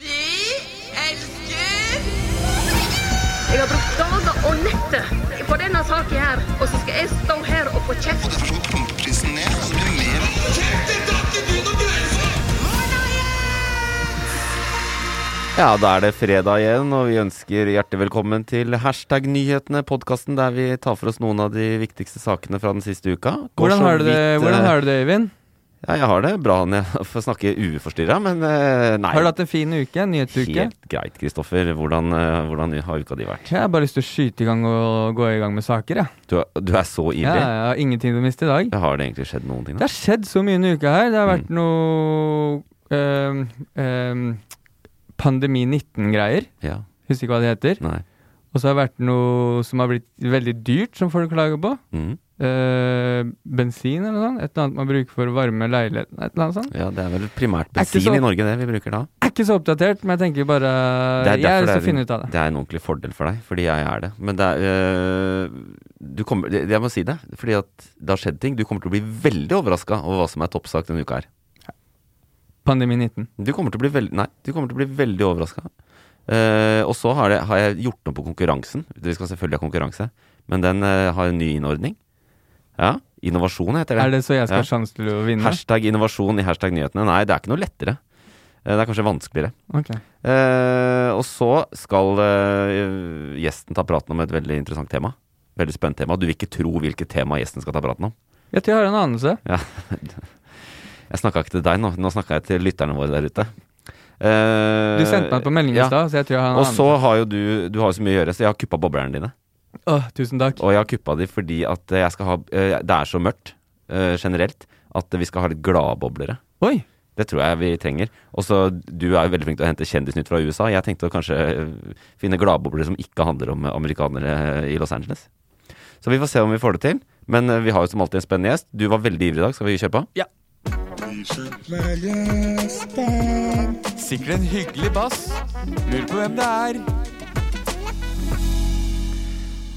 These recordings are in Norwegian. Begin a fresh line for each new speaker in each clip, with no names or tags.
Vi elsker
Jeg har brukt dager og netter på denne saken her, og så skal jeg stå her og få kjeft.
Derfor skal vi pumpe prisen ned. så Du lever.
Ja, da er det fredag igjen, og vi ønsker hjertelig velkommen til Hashtag nyhetene, podkasten der vi tar for oss noen av de viktigste sakene fra den siste uka. Går
Hvordan
så
har, du det,
vidt,
hvordan
eh,
har du det, Øyvind?
Ja, jeg har det bra når jeg får snakke uforstyrra, men eh, nei.
Har du hatt en fin uke? En nyhetsuke?
Helt greit, Kristoffer. Hvordan, eh, hvordan har uka di vært?
Jeg har bare lyst til å skyte i gang og gå i gang med saker, jeg.
Du, er- du er så ivrig.
Ja, jeg har ingenting å miste i dag.
Har det egentlig skjedd noen ting?
Det
Da? Mm.
har skjedd så mye denne uka her. Det har vært noe ehm, øhm, øhm, Pandemi 19-greier.
Ja.
Husker ikke hva det heter.
Nei.
Og så har det vært noe som har blitt veldig dyrt, som folk klager på.
Mm.
Eh, bensin eller noe sånt. Et eller annet man bruker for å varme leiligheten. Et eller annet sånt.
Ja, det er vel primært
Er ikke
bensin
så-
i Norge, det vi bruker da.
Jeg er ikke så oppdatert, men jeg tenker bare
Det er
Jeg har lyst til å
derfor det er en-
finne ut av det.
Det er en ordentlig fordel for deg, fordi jeg er det. Men det er øh, du kommer, det- Jeg må si det, fordi at det har skjedd ting. Du kommer til å bli veldig overraska over hva som er toppsak denne uka her.
Pandemi 19.
Du kommer til å bli veldig Nei, du kommer til å bli veldig overraska. og så har, det, har jeg gjort noe på konkurransen. Vi skal selvfølgelig ha konkurranse, men den eh, har en ny innordning. Ja. Innovasjon heter det.
Er det så jeg skal
Ja.
ha sjanse til å vinne?
Hashtag innovasjon i hashtag nyhetene. Nei, det er ikke noe lettere. Eh, Det er kanskje vanskeligere.
Ok.
Eh, og så skal eh, gjesten ta praten om et veldig interessant tema. Veldig spennende tema. Du vil ikke tro hvilket tema gjesten skal ta praten om.
Jeg tror jeg har en anelse.
Ja. Jeg snakka ikke til deg nå, nå snakka jeg til lytterne våre der ute. Eh,
Du sendte meg på melding i
ja.
stad, så jeg tror jeg har en
Og så
anelse.
har jo du Du har jo så mye å gjøre, så jeg har kuppa boblerne dine.
Åh, tusen takk.
Og jeg har kuppa de fordi at jeg skal ha eh, Det er så mørkt eh, generelt at vi skal ha litt gladboblere.
Oi!
Det tror jeg vi trenger. Og så Du er jo veldig flink til å hente kjendisnytt fra USA. Jeg tenkte å kanskje øh, finne gladbobler som ikke handler om eh, amerikanere i Los Angeles. Så vi får se om vi får det til. Men øh, vi har jo som alltid en spennende gjest. Du var veldig ivrig i dag. Skal vi kjøre på?
Sikkert en hyggelig bass. Lurer på hvem det er.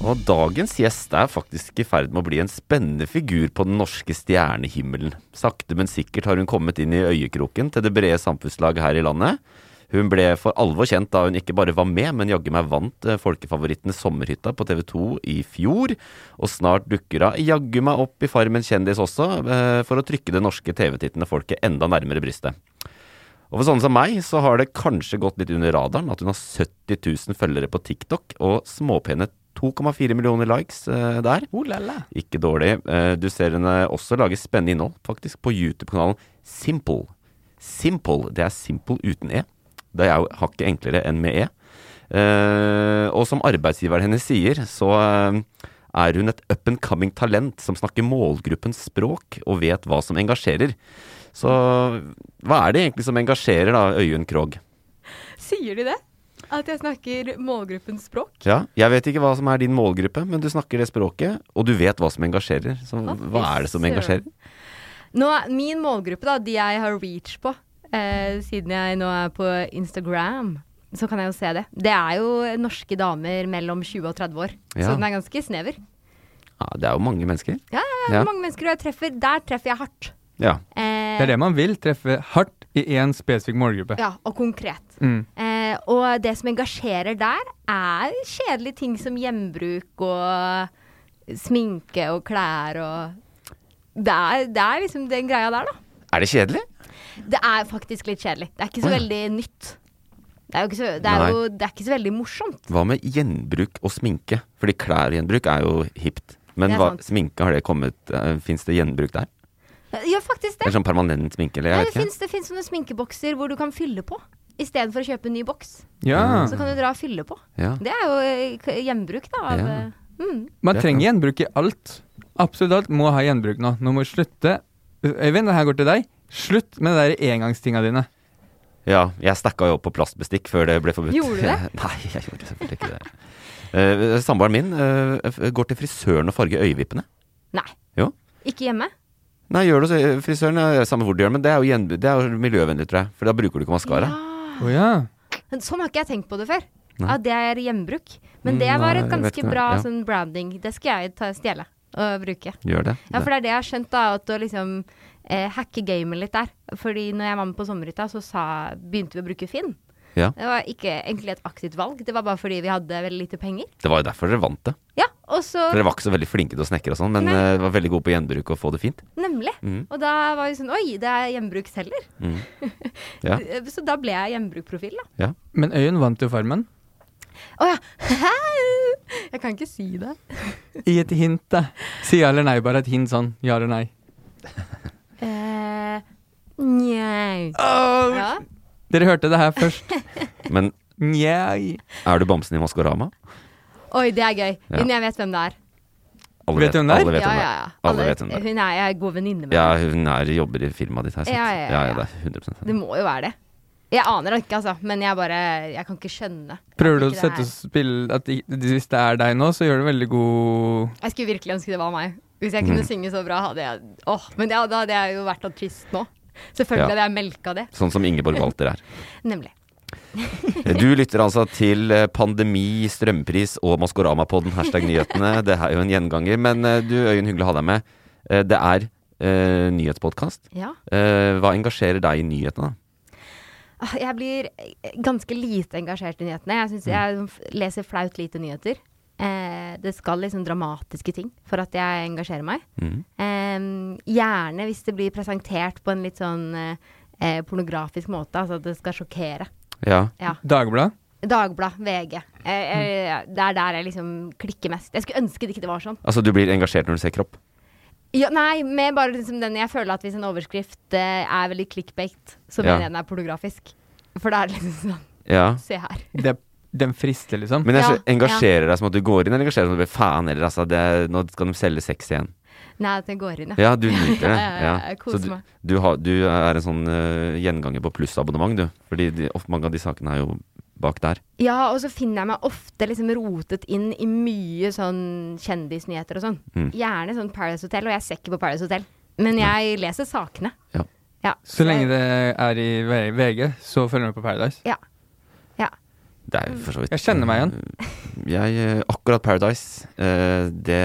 Og dagens gjest er faktisk i ferd med å bli en spennende figur på den norske stjernehimmelen. Sakte, men sikkert har hun kommet inn i øyekroken til det brede samfunnslaget her i landet. Hun ble for alvor kjent da hun ikke bare var med, men jaggu meg vant eh, folkefavorittene Sommerhytta på TV 2 i fjor. Og snart dukker hun jaggu meg opp i Farmen kjendis også, eh, for å trykke det norske TV-tittende folket enda nærmere brystet. Og for sånne som meg, så har det kanskje gått litt under radaren at hun har 70 000 følgere på TikTok, og småpene 2,4 millioner likes eh, der.
Oh la la.
Ikke dårlig. Eh, du ser henne også lage spennende innhold, faktisk, på YouTube-kanalen Simple. Simple, det er simple uten e. Det er jo hakket enklere enn med e. Eh, og som arbeidsgiveren hennes sier, så eh, er hun et up and coming talent som snakker målgruppens språk og vet hva som engasjerer. Så hva er det egentlig som engasjerer da, Øyunn Krogh?
Sier de det? At jeg snakker målgruppens språk?
Ja, jeg vet ikke hva som er din målgruppe, men du snakker det språket, og du vet hva som engasjerer. Så hva er det som engasjerer?
Nå, er- min målgruppe, da, de jeg har reach på, eh, siden jeg nå er på Instagram, så kan jeg jo se det. Det er jo norske damer mellom 20 og 30 år,
Ja.
så den er ganske snever.
Ja, det er jo mange mennesker.
Ja, ja, ja.
Ja.
mange mennesker, og jeg treffer, der treffer jeg hardt.
Ja.
Eh,
Det er det man vil. Treffe hardt i én spesifikk målgruppe.
Ja, og konkret.
Mm.
Eh, og det som engasjerer der, er kjedelige ting som hjembruk og sminke og klær og det er, det er liksom den greia der, da.
Er det kjedelig?
Det er faktisk litt kjedelig. Det er ikke så
Å, ja.
veldig nytt. Det er, jo ikke så, det,
Nei.
er jo, det er ikke så veldig morsomt.
Hva med gjenbruk og sminke? Fordi klærgjenbruk er jo hipt. Men
Det er
hva,
sant.
sminke, har det kommet uh, Fins det gjenbruk der?
Ja, faktisk det.
Eller sånn permanent sminke? Eller
Nei,
jeg
det
vet ikke.
fins det finnes sånne sminkebokser hvor du kan fylle på. Istedenfor å kjøpe en ny boks.
Ja.
Så kan du dra og fylle på.
Ja.
Det er jo eh, k- gjenbruk, da. Av,
Ja.
eh, mm.
Man
Det kan-
trenger gjenbruk i alt. Absolutt alt må ha gjenbruk nå. Nå må vi slutte. Øyvind, det her går til deg. Slutt med de der engangstinga dine.
Ja, jeg stakka jo opp på plastbestikk før det ble forbudt.
Gjorde du det?
Nei, jeg gjorde selvfølgelig ikke det. Eh, Samboeren min eh, f- går til frisøren og farger øyevippene.
Nei.
Jo.
Ikke hjemme.
Nei, gjør det så, frisøren, ja, samme hvor du gjør det, men det er jo, gjen, det er jo miljøvennlig, tror jeg. For da bruker du ikke maskara.
Å ja.
Men Sånn har ikke jeg tenkt på det før.
Nei.
At det er gjenbruk. Men
Mm,
det var et
nei, jeg vet
ganske
det,
bra
ja.
sånn branding. Det skal jeg ta, stjele og bruke.
Gjør det.
Ja, for det er det jeg har skjønt, da. At å liksom eh, hacke gamet litt der. Fordi når jeg var med på sommerhytta, så sa, begynte vi å bruke Finn.
Ja.
Det var ikke egentlig et aktivt valg, det var bare fordi vi hadde veldig lite penger.
Det var jo derfor dere vant det.
Ja, og så
For dere var ikke så veldig flinke til å snekre og sånn, men
Nei.
eh, var veldig gode på gjenbruk og få det fint.
Nemlig.
Mhm.
Og da var vi sånn Oi, det er gjenbruksselger.
Mm. Ja.
Så da ble jeg gjenbrukprofil, da.
ja.
Men Øyunn vant jo Farmen.
Å ja. Jeg kan ikke si det.
I et hint, da. Si ja eller nei, bare et hint sånn. Ja eller nei.
Eh, Njau. ja.
Dere hørte det her først.
Men
Njei.
er du bamsen i Maskorama?
Oi, det er gøy.
Ja.
Men jeg vet hvem det er.
Alle
Vet du hvem det er?
Alle vet
ja,
hvem det
ja,
er.
ja.
Alle
Alle-
vet hvem det er.
Hun er jeg er god venninne med.
Ja,
henne.
hun er, jobber i firmaet ditt, har jeg sett.
Ja, ja, ja,
ja,
ja.
det er 100
Det må jo være det. Jeg aner det ikke, altså. Men jeg bare Jeg kan ikke skjønne. at
Prøver du å
ikke det
sette
er-
spill at i- hvis det er deg nå, så gjør du veldig god
Jeg skulle virkelig ønske det var meg. Hvis jeg
Mm.
kunne synge så bra, hadde jeg Åh, men ja, da hadde jeg jo vært artist nå. Selvfølgelig
Ja.
hadde jeg melka det.
Sånn som Ingeborg Walter er.
Nemlig.
Du lytter altså til eh, pandemi, strømpris og Maskorama-podden, hashtag nyhetene. Det er jo en gjenganger. Men eh, du, Øyunn, hyggelig å ha deg med. Eh, Det er eh, nyhetspodkast.
Ja.
Eh, Hva engasjerer deg i nyhetene, da?
Ah, Jeg blir eh, ganske lite engasjert i nyhetene. Jeg, synes jeg f- leser flaut lite nyheter. Eh, det skal liksom dramatiske ting for at jeg engasjerer meg.
Mhm.
Eh, gjerne hvis det blir presentert på en litt sånn eh, eh, pornografisk måte, altså at det skal sjokkere.
Ja.
Ja.
Dagblad.
Dagblad, VG. Eh, eh, det er der jeg liksom klikker mest. Jeg skulle ønske det ikke var sånn.
Altså, du blir engasjert når du ser kropp?
Ja, nei, med bare liksom den jeg føler at hvis en overskrift eh, er veldig clickbait, så
Ja.
mener jeg den er pornografisk. For da er det liksom sånn
Ja.
Se her.
Det, den frister, liksom.
Men jeg
Ja,
skjø- engasjerer deg som at du går inn, eller engasjerer deg som at du blir faen heller, altså. Det, er- nå skal de selge sex igjen.
Nei, at den går inn, ja.
Ja, du nyter
Ja,
det.
ja, ja, jeg
Så
koser
du,
meg.
du, har, du er en sånn eh, gjenganger på plussabonnement, du. Fordi de, ofte mange av de sakene er jo bak der.
Ja, og så finner jeg meg ofte liksom rotet inn i mye sånn kjendisnyheter og sånn.
Mm.
Gjerne sånn Paradise Hotel, og jeg ser ikke på Paradise Hotel. Men jeg leser sakene.
Ja.
Ja,
Så lenge det er i V- VG, så følger du med på Paradise.
Ja. ja.
Det er jo for så vidt
Jeg kjenner meg igjen.
Jeg, eh, akkurat Paradise, eh, det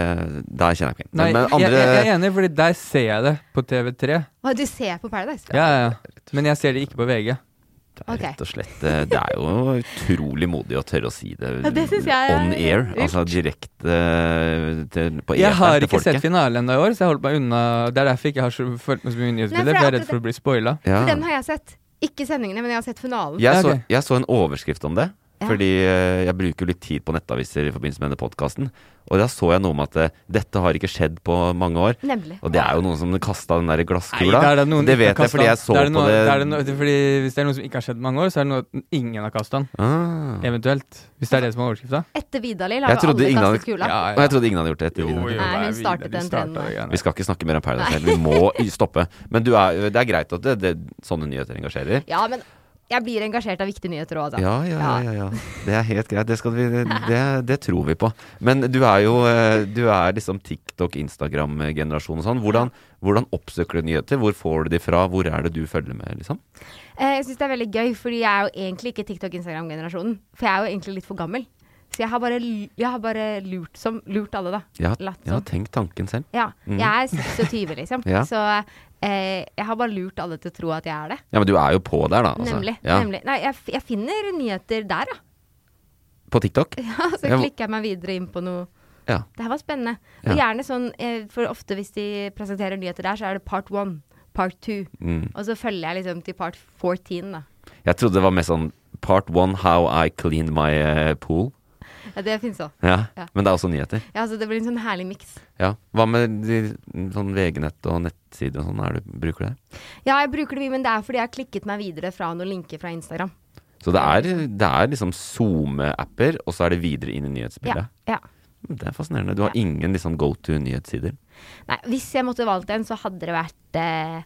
Der kjenner jeg meg igjen.
Nei,
Men, men
jeg,
andre
jeg, jeg er enig, fordi der ser jeg det på TV3.
Å, du ser på Paradise?
Ja, ja, ja. Men jeg ser det ikke på VG.
det er
ok.
Rett og slett eh, Det er jo utrolig modig å tørre å si det,
Ja, det synes jeg er
on air.
vilt.
Altså direkte eh, til, på
Jeg
eteren
har
til
ikke
folket.
sett finalen ennå i år, så jeg holdt meg unna. Det er derfor jeg ikke har så, fulgt med så mye
Nei, for
nyhetsbilder,
det
for
er
jeg er redd for å bli spoila.
Ja.
For den har jeg sett. Ikke sendingene, men jeg har sett finalen.
Jeg,
Ja,
så,
ok.
jeg så en overskrift om det,
Ja.
fordi eh, jeg bruker jo litt tid på nettaviser i forbindelse med denne podkasten. Og da så jeg noe om at eh, dette har ikke skjedd på mange år.
Nemlig.
Og det er jo noen som kasta den der glasskula.
der er noen
det
ikke
vet
har
jeg fordi jeg
kastet
så
den. Der er
på
noe-
det.
der er noe- fordi Hvis det er noe som ikke har skjedd på mange år, så er det noe at ingen har kasta den.
ah.
Eventuelt. Hvis det er det som er overskrifta.
Etter Vidalil
Jeg
har jo
trodde
alle
ingen hadde-
kastet kula.
Ja,
Og jeg trodde ingen hadde gjort det etter det.
Nei, hun startet den trenden der.
Vi skal ikke snakke mer om Paradise Hotel. Vi må i- stoppe. Men du er, det er greit at det, det, sånne nyheter engasjerer.
Ja, men jeg blir engasjert av viktige nyheter òg, altså.
Ja, ja, ja, ja, ja. Det er helt greit. Det, skal vi, det, det tror vi på. Men du er jo eh, du er liksom TikTok, Instagram-generasjon og sånn. Hvordan, hvordan oppsøker du nyheter? Hvor får du de fra? Hvor er det du følger med, liksom?
Eh, Jeg syns det er veldig gøy, fordi jeg er jo egentlig ikke TikTok-Instagram-generasjonen. For jeg er jo egentlig litt for gammel. Så jeg har bare, l- jeg har bare lurt, som, lurt alle, da.
Ja,
Latt
ja
som.
tenk tanken selv.
Ja, jeg er 26, liksom.
Ja.
Så eh, jeg har bare lurt alle til å tro at jeg er det.
Ja, men du er jo på der, da. altså.
nemlig.
Ja.
nemlig. Nei, jeg, f- jeg finner nyheter der, ja.
På TikTok?
ja så
Jeg må-
klikker jeg meg videre inn på noe.
Ja.
Det her var spennende. Og
Ja.
gjerne sånn, eh, for ofte hvis de presenterer nyheter der, så er det part one. part two.
Mm.
Og så følger jeg liksom til part 14, da.
Jeg trodde det var mer sånn part one how I cleaned my eh, pool.
Ja, det fins òg.
Ja.
Ja.
Men det er også nyheter.
Ja, så det blir en sånn herlig miks.
Ja. Hva med de, sånn VG-nett og nettsider og sånn? Er du, bruker du det?
Ja, jeg bruker det mye, men det er fordi jeg har klikket meg videre fra noen linker fra Instagram.
Så det er, det er liksom SoMe-apper, og så er det videre inn i
Ja,
nyhetsbildet.
ja.
Det er fascinerende. Du har ingen liksom go to nyhetssider.
Nei, hvis jeg måtte valgt en, så hadde det vært eh,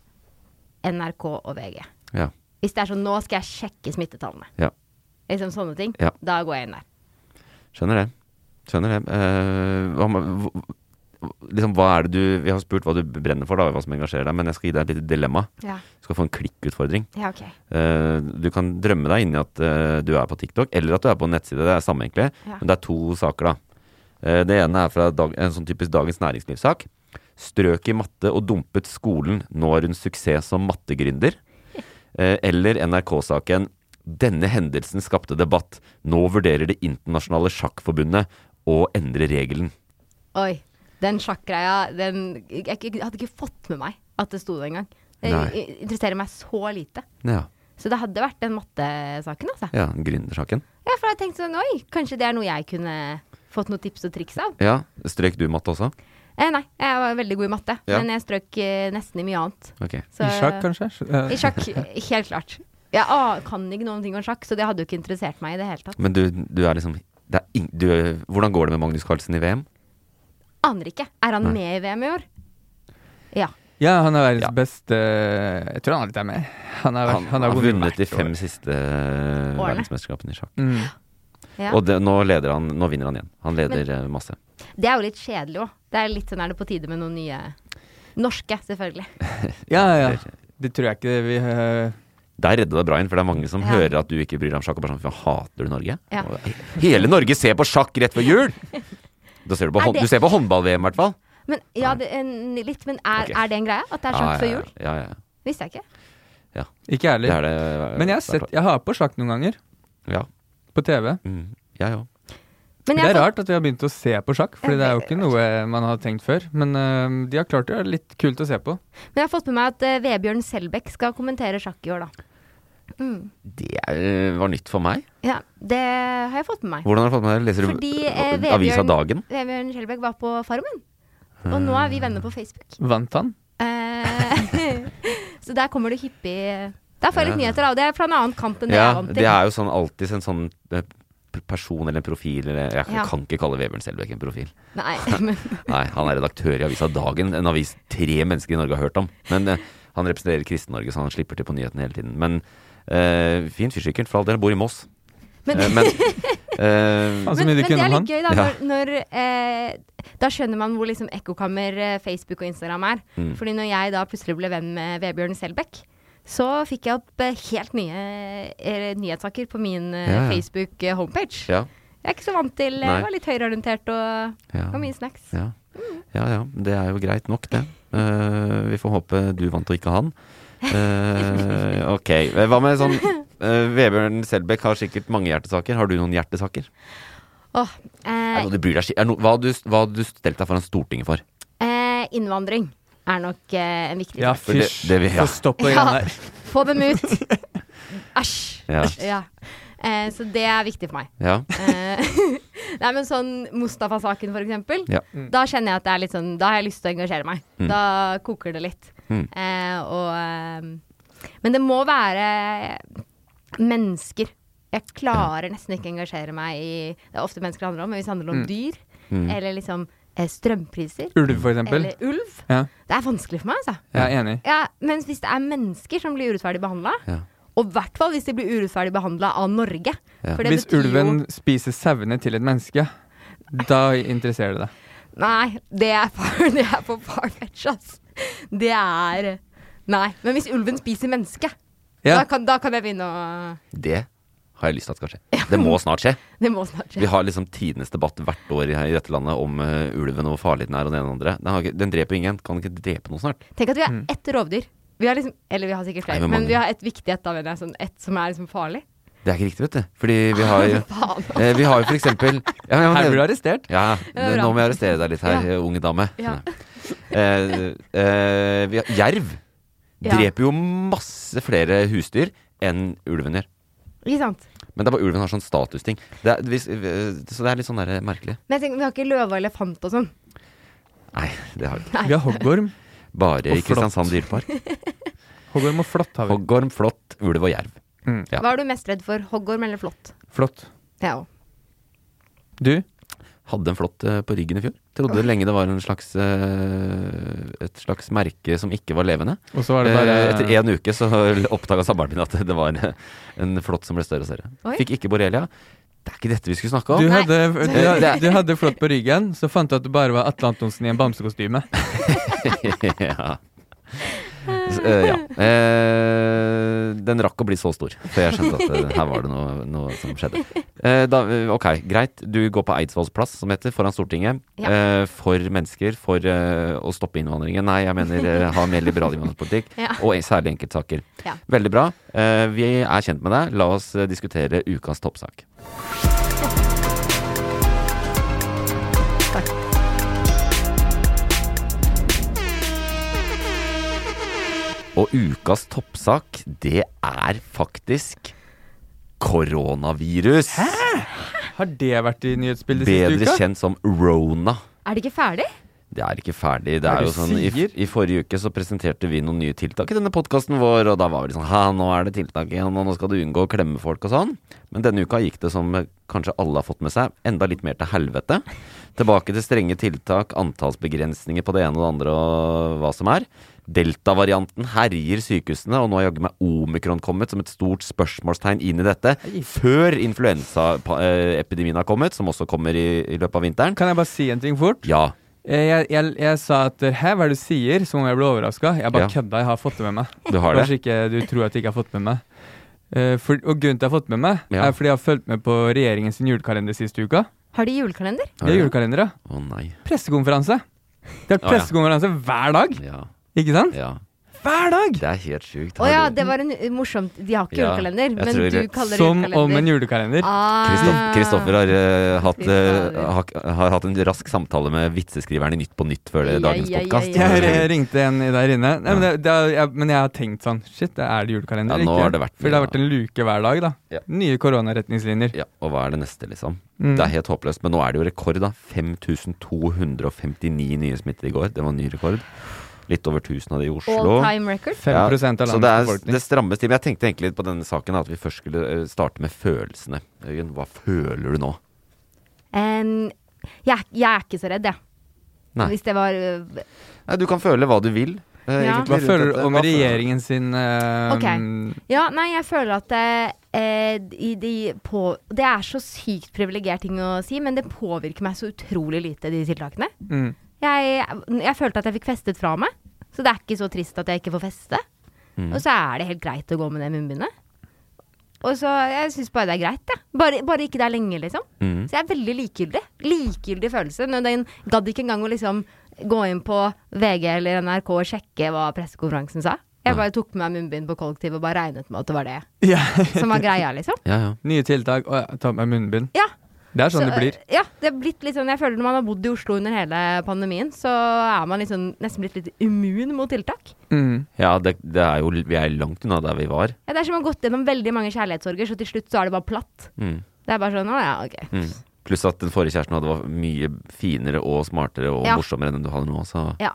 NRK og VG.
Ja.
Hvis det er sånn nå skal jeg sjekke smittetallene,
ja.
liksom sånne ting,
Ja.
da går jeg inn der.
Skjønner det. Skjønner det. Eh, hva, med- hv- liksom, hva er det du Vi har spurt hva du brenner for, da, hva som engasjerer deg, men jeg skal gi deg et lite dilemma.
Ja.
Du skal få en klikkutfordring.
Ja, ok.
Eh, du kan drømme deg inn i at eh, du er på TikTok, eller at du er på en nettside. Det er samme, egentlig.
Ja.
Men det er to saker, da. Eh, det ene er fra dag, en sånn typisk Dagens Næringsliv-sak. Strøk i matte og dumpet skolen. Nå har hun suksess som mattegründer. Eh, eller NRK-saken. Denne hendelsen skapte debatt. Nå vurderer Det internasjonale sjakkforbundet å endre regelen.
Oi, den sjakkgreia, den jeg, jeg hadde ikke fått med meg at det sto det engang. Det
Nei.
interesserer meg så lite.
Ja.
Så det hadde vært den mattesaken, altså.
ja gründersaken.
Ja, for jeg tenkte sånn, oi, kanskje det er noe jeg kunne fått noen tips og triks av.
Ja. Strøk du matte også?
Eh, nei, jeg var veldig god i matte,
Ja.
men jeg strøk eh, nesten i mye annet.
Ok.
Så-
I sjakk, kanskje? eh,
I sjakk, helt klart. Jeg ah, kan ikke noen ting om sjakk, så det hadde jo ikke interessert meg i det hele tatt.
Men du, du er liksom det er ing, du, Hvordan går det med Magnus Carlsen i VM?
Aner ikke. Er han
Nei.
med i VM i år? Ja.
Ja, han er verdens beste eh, Jeg tror han alltid er med. Han er,
Han, har
vunnet
vunnet de
hvert år.
fem siste eh, verdensmesterskapene i sjakk.
Mm.
ja.
Og det, nå, leder han, nå vinner han igjen. Han leder eh, masse.
Det er jo litt kjedelig òg. Det er litt sånn er det på tide med noen nye Norske, selvfølgelig.
Ja, ja. Det tror jeg ikke vi eh,
Der redda det bra inn, for det er mange som
Ja.
hører at du ikke bryr deg om sjakk. Og bare sånn, "Fy, hater du Norge?
Ja.
Og, Hele Norge ser på sjakk rett før jul! Da ser du, på
Er
hånd,
det-
du ser på håndball-VM, i hvert fall.
Men ja, det, en, litt, men er,
Ok.
er det en greie? At det er sjakk før jul?
Ja, ja, ja.
Visste jeg ikke.
Ikke jeg
Det er
heller.
det. eh,
Men jeg har, sett, jeg har på sjakk noen ganger.
Ja.
På TV.
Mm, jeg òg.
Men
Det
jeg
er
har
rart at vi har begynt å se på sjakk, Fordi det er jo ikke noe man har tenkt før. Men eh, de har klart det. Det er litt kult å se på.
fått, men jeg har fått med meg at eh, Vebjørn Selbekk skal kommentere sjakk i år, da.
Det er- eh, var nytt for meg.
Ja, det har jeg fått med meg.
Hvordan har du fått med det? Leser du
Fordi eh,
avisa
Vebjørn,
Dagen?
Vebjørn Skjelbæk var på Farmen. Og nå er vi venner på Facebook.
Vant han?
Eh, så der kommer det hyppig Der får jeg litt
Ja.
nyheter, da. Og det er fra en annen kant enn det jeg er
Ja,
vant
det
til.
er jo sånn alltid en sånn eh, p- person eller en profil eller Jeg
Ja.
kan ikke kalle Vebjørn Selbekk en profil.
Nei, men
Nei, han er redaktør i avisa Dagen, en avis tre mennesker i Norge har hørt om. Men eh, han representerer Kristen-Norge, så han slipper til på nyhetene hele tiden. Men eh, fin fyr sikkert, for all del, bor i Moss.
Men-
Eh, men eh,
men,
Faen, så mye
men
du
det
kunne
er
om
litt
han.
gøy, da.
Ja.
Når, når, eh, da skjønner man hvor liksom ekkokammer eh, Facebook og Instagram er.
Mm.
Fordi når jeg da plutselig ble venn med Vebjørn Selbekk, så fikk jeg opp eh, helt nye eh, nyhetssaker på min eh,
Ja, ja.
Facebook eh, homepage.
ja,
Jeg er ikke så vant til
Nei.
Jeg var litt høyreorientert og,
Ja.
og mye snacks. Mm.
ja, ja, ja. Det er jo greit nok, det. Eh, vi får håpe du vant og ikke han. Eh, ok. Hva med sånn eh, Vebjørn Selbekk har sikkert mange hjertesaker. Har du noen hjertesaker?
Åh,
Er det
eh,
noe du bryr deg, skik- er det noe, hva har du, hva har du stelt deg foran Stortinget for?
eh, innvandring er nok eh, en viktig
Ja,
sak.
For det-
fysj.
det vil- ja.
Få stopp på det greiene der.
Få dem ut! Æsj.
Ja.
Ja. Eh, så det er viktig for meg.
ja.
Eh, Nei, men sånn Mustafa-saken, for eksempel.
Ja.
Da kjenner jeg at det er litt sånn Da har jeg lyst til å engasjere meg.
Mm.
Da koker det litt.
Mm.
Eh, og eh, Men det må være mennesker. Jeg klarer nesten ikke å engasjere meg i Det er ofte mennesker det handler om, men hvis det handler om
Mm.
dyr,
Mm.
eller liksom eh, strømpriser,
Ulv, for eksempel.
eller ulv
Ja,
Det er vanskelig for meg, altså.
jeg er enig.
Ja, mens hvis det er mennesker som blir urettferdig behandla,
Ja.
og i hvert fall hvis de blir urettferdig behandla av Norge for det
Hvis
betyr jo-
ulven spiser sauene til et menneske, da interesserer det deg.
Nei, det er, far, det er for farfetch, ass. Det er Nei. Men hvis ulven spiser menneske,
Ja.
da, kan, da kan jeg begynne å
Det har jeg lyst til at skal skje. Det må snart skje.
Det må snart
Vi
skje.
har liksom tidenes debatt hvert år i, i dette landet om eh, ulven og hvor farlig den er og det ene og det andre. Den, har ikke, den dreper ingen. Kan den ikke drepe noen snart?
Tenk at vi
Mm.
har ett rovdyr. Vi har liksom, eller vi har sikkert
Nei,
flere,
men
men
mange.
vi har et viktig et, da, mener jeg. Sånn, et som er liksom farlig.
Det er ikke riktig, vet du. Fordi vi har jo
Faen.
eh, Vi har jo for eksempel ja, men jeg må
Her
nevne-
blir du arrestert.
Ja,
er
det-
bra.
nå må jeg arrestere deg litt her,
Ja.
unge dame.
Ja.
Eh, eh, vi har, jerv.
Ja.
dreper jo masse flere husdyr enn ulven gjør.
Ikke sant?
Men det er bare ulven har sånn statusting. Det er, hvis, øh, så det er litt sånn der, merkelig.
Men jeg tenker, vi har ikke løve og elefant og sånn.
Nei, det har vi ikke.
Nei. Vi har
hoggorm.
Bare
Og
i Kristiansand dyrepark.
Hoggorm og flått har vi.
Hoggorm, flått, ulv og jerv.
Mm.
Ja.
Hva er du mest redd for? Hoggorm eller flått?
Flått.
Jeg òg.
Du?
Hadde en flått eh, på ryggen i fjor. Trodde lenge det var en slags, eh, et slags merke som ikke var levende.
Og så var det
Eh,
bare-
Etter én uke så oppdaga samboeren min at det var eh, en flått som ble større og større.
Oi.
Fikk ikke borrelia. Det er ikke dette vi skulle snakke om.
Du hadde,
Nei.
du, hadde, du hadde flått på ryggen, så fant du at du bare var Atle Antonsen i en bamsekostyme.
ja. S- eh, ja. Eh, den rakk å bli så stor, før jeg skjønte at eh, her var det noe, noe som skjedde. Eh, da, ok, greit. Du går på Eidsvolls plass, som heter, foran Stortinget.
Ja.
Eh, for mennesker, for eh, å stoppe innvandringen. Nei, jeg mener eh, ha mer liberal innvandringspolitikk.
Ja.
Og særlig enkeltsaker.
Ja.
Veldig bra. Eh, vi er kjent med deg. La oss eh, diskutere ukas toppsak. Og ukas toppsak, det er faktisk koronavirus.
Har det vært i nyhetsbildet siste
Bedre
uka?
kjent som rona.
Er det ikke ferdig?
Det er ikke ferdig. Det
Hva er
er
det
jo
du
sånn, i,
sier?
I forrige uke så presenterte vi noen nye tiltak i denne podkasten vår, og da var vi sånn Ha, nå er det tiltak igjen, og nå skal du unngå å klemme folk og sånn. Men denne uka gikk det som eh, kanskje alle har fått med seg, enda litt mer til helvete. Tilbake til strenge tiltak, antallsbegrensninger på det ene og det andre og hva som er. Delta-varianten herjer sykehusene, og nå har jaggu meg omikron kommet som et stort spørsmålstegn inn i dette. Før influensaepidemien har kommet, som også kommer i, i løpet av vinteren.
Kan jeg bare si en ting fort?
Ja.
Eh, Jeg, jeg, jeg sa at eh, hæ, hva er det du sier? Som om jeg ble overraska. Jeg bare
Ja.
kødda, jeg har fått det med meg.
Du har det?
Kanskje ikke du tror at jeg ikke har fått med meg. Eh, for, og grunnen til at jeg har fått med meg,
Ja.
er fordi jeg har fulgt med på regjeringens julekalender siste uka.
Har de julekalender?
Det
Har
er
du det?
julekalender, ja.
Å nei.
Pressekonferanse. Det har
Å, ja.
vært pressekonferanse hver dag,
Ja.
ikke sant?
Ja.
Hver dag!
Det er helt sjukt.
Å ja,
Har du-
det var en eh, morsomt. De har ikke
Ja,
julekalender,
jeg
men du
tror det-
kaller det
Som
julekalender.
om en julekalender.
Ah.
Kristoff- Kristoffer har, eh, hatt,
Fy
eh,
fader.
hak- har hatt en rask samtale med vitseskriveren i Nytt på Nytt før det,
Ja,
dagens
ja, ja,
podkast.
ja,
Jeg re- ringte en der inne. Nei, men, det, det er, jeg, men jeg har tenkt sånn Shit, det er det julekalender?
Ja,
eller
nå
ikke?
har det vært-
For det har vært en luke hver dag, da.
Ja.
Nye koronaretningslinjer.
Ja, og hva er det neste, liksom?
Mm.
Det er helt håpløst. Men nå er det jo rekord, da. 5259 nye smittede i går. Det var en ny rekord. Litt over 1000 av det i Oslo.
All time record?
5 av
Ja,
landets
så det, er,
befolkning.
det strammes til. Men jeg tenkte egentlig litt på denne saken, at vi først skulle eh, starte med følelsene. Jørgen, Hva føler du nå?
Em, jeg, er- jeg er ikke så redd, jeg.
Nei.
Hvis det var øh,
Nei, du kan føle hva du vil. eh,
Ja.
egentlig,
Hva
rundt
føler du
dette.
om
Hva føler du?
regjeringen sin eh,
Ok. Ja, nei, jeg føler at eh, eh, de, de på, Det er så sykt privilegert ting å si, men det påvirker meg så utrolig lite, de tiltakene.
Mm.
Jeg, jeg følte at jeg fikk festet fra meg, så det er ikke så trist at jeg ikke får feste.
Mm.
Og så er det helt greit å gå med det munnbindet. Og så, Jeg syns bare det er greit. Ja. Bare, bare ikke det er lenge, liksom.
Mm.
Så jeg er veldig likegyldig. Likegyldig følelse. Når den gadd ikke engang å liksom gå inn på VG eller NRK og sjekke hva pressekonferansen sa. Jeg bare tok med meg munnbind på kollektivet og bare regnet med at det var det
Ja.
som var greia, liksom.
Ja, ja.
Nye tiltak. Å, jeg tar på meg munnbind.
Ja.
Det er sånn
eh,
det blir.
Ja, det er blitt litt sånn, jeg føler Når man har bodd i Oslo under hele pandemien, så er man liksom nesten blitt litt immun mot tiltak.
Mm.
Ja, det, det er jo, vi er langt unna der vi var.
Ja, det er som å ha gått gjennom veldig mange kjærlighetssorger, så til slutt så er det bare platt.
Mm.
Det er bare sånn, å ja, ok.
Mm. Pluss at den forrige kjæresten hadde var mye finere og smartere og
Ja.
morsommere enn den du hadde nå. Så
Ja.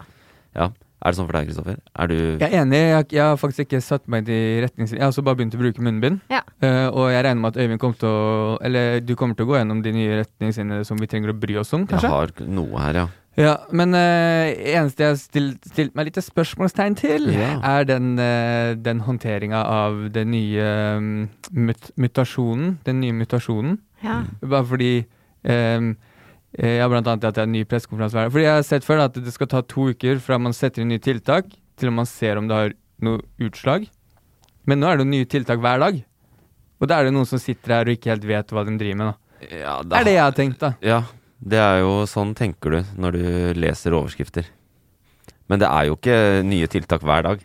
ja. Er det sånn for deg, Kristoffer? Er du
Jeg er enig. Jeg, jeg har faktisk ikke satt meg i de retningslinjene. Jeg har også bare begynt å bruke munnbind.
Ja.
Eh, og jeg regner med at Øyvind kommer til å Eller du kommer til å gå gjennom de nye retningslinjene som vi trenger å bry oss om,
Jeg
kanskje?
har noe her, ja.
Ja, men eh, eneste jeg har stilt, stilt meg litt spørsmålstegn til,
Ja.
er den, uh, den håndteringa av den nye mm, mut mutasjonen. Den nye mutasjonen.
Ja.
Bare fordi um, jeg har blant annet at jeg har en ny pressekonferanse hver dag. Fordi jeg har sett før da, at det skal ta to uker fra man setter inn nye tiltak, til man ser om det har noe utslag. Men nå er det jo nye tiltak hver dag. Og da er det noen som sitter her og ikke helt vet hva de driver med. Da.
ja
Det er det jeg har tenkt, da.
Ja, det er jo sånn tenker du når du leser overskrifter. Men det er jo ikke nye tiltak hver dag.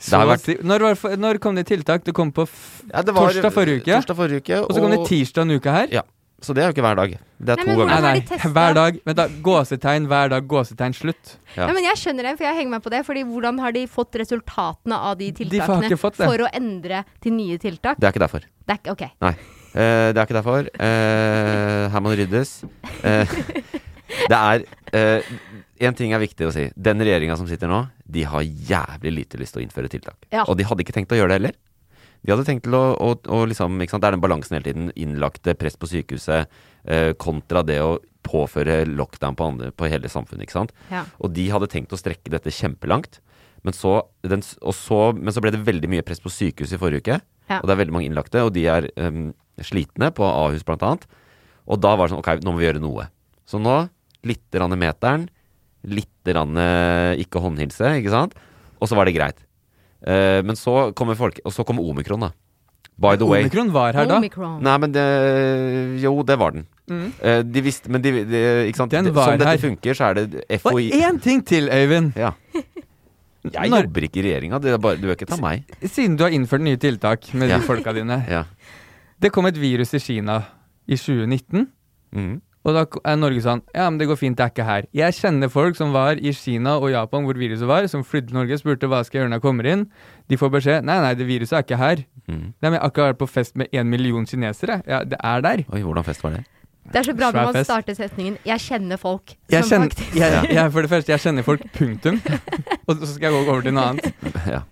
Så,
har
å
vært-
si- når, var, det- når kom det tiltak? Det kom på f
Ja, det
Torsdag forrige uke.
Torsdag forrige uke
Og så kom det tirsdag en uke her.
Ja. Så det er jo ikke hver dag. Det er
Nei, men
to ganger.
hvordan-
Nei,
har de
nei,
testet?
hver dag. Vent da, gåsetegn, hver dag, gåsetegn, slutt.
Ja.
Ja, men Jeg skjønner det, for jeg henger meg på det. Fordi Hvordan har de fått resultatene av de
har
tiltakene
ikke fått det.
for å endre til nye tiltak?
Det er ikke derfor.
Det er ikke OK.
Nei. Eh, det er ikke derfor. Eh, her må det ryddes. Eh, det er Én ting er viktig å si. Den regjeringa som sitter nå, de har jævlig lite lyst til å innføre tiltak.
Ja.
Og de hadde ikke tenkt å gjøre det heller. De hadde tenkt til å, å, å liksom ikke sant? Det er den balansen hele tiden. Innlagte, press på sykehuset, eh, kontra det å påføre lockdown på, andre, på hele samfunnet. ikke sant?
Ja.
Og de hadde tenkt å strekke dette kjempelangt. Men så, den, s- og så, men så ble det veldig mye press på sykehuset i forrige uke.
Ja.
Og det er veldig mange innlagte, og de er um, slitne på Ahus blant annet. Og da var det sånn ok, nå må vi gjøre noe. Så nå litt rann meteren, litt rann eh, ikke håndhilse, ikke sant? Og så var det greit. Eh, men så kommer folk, og så kommer omikron, da. By the way.
Omikron var her da.
Omikron.
Nei, men det, jo, det var den. Eh, de visste, men de, de, ikke sant?
Mm. Den
Det-
var
Som dette
her.
funker, så er det
Og
FHI
én ting til, Øyvind.
ja. Jeg
Når-
jobber ikke i regjeringa, det er bare- du bør ikke ta meg.
Siden du har innført nye tiltak med
Ja.
de folka dine.
Ja.
Det kom et virus i Kina i 2019.
Mhm.
Og da er Norge sånn Ja, men det går fint, det er ikke her. Jeg kjenner folk som var i Kina og Japan hvor viruset var, som flydde til Norge spurte hva skal jeg gjøre når jeg kommer inn. De får beskjed Nei, nei, det viruset er ikke her.
Mhm.
Nei, men jeg har akkurat vært på fest med én million kinesere. Ja, det er der.
Oi, hvordan fest var det?
Det er så bra
Svær
når man
fest.
starter setningen 'Jeg kjenner folk'.
Jeg
som
kjenner,
faktisk-
jeg, jeg, for det første, jeg kjenner folk, punktum. Og så skal jeg gå over til noe annet.
Ja.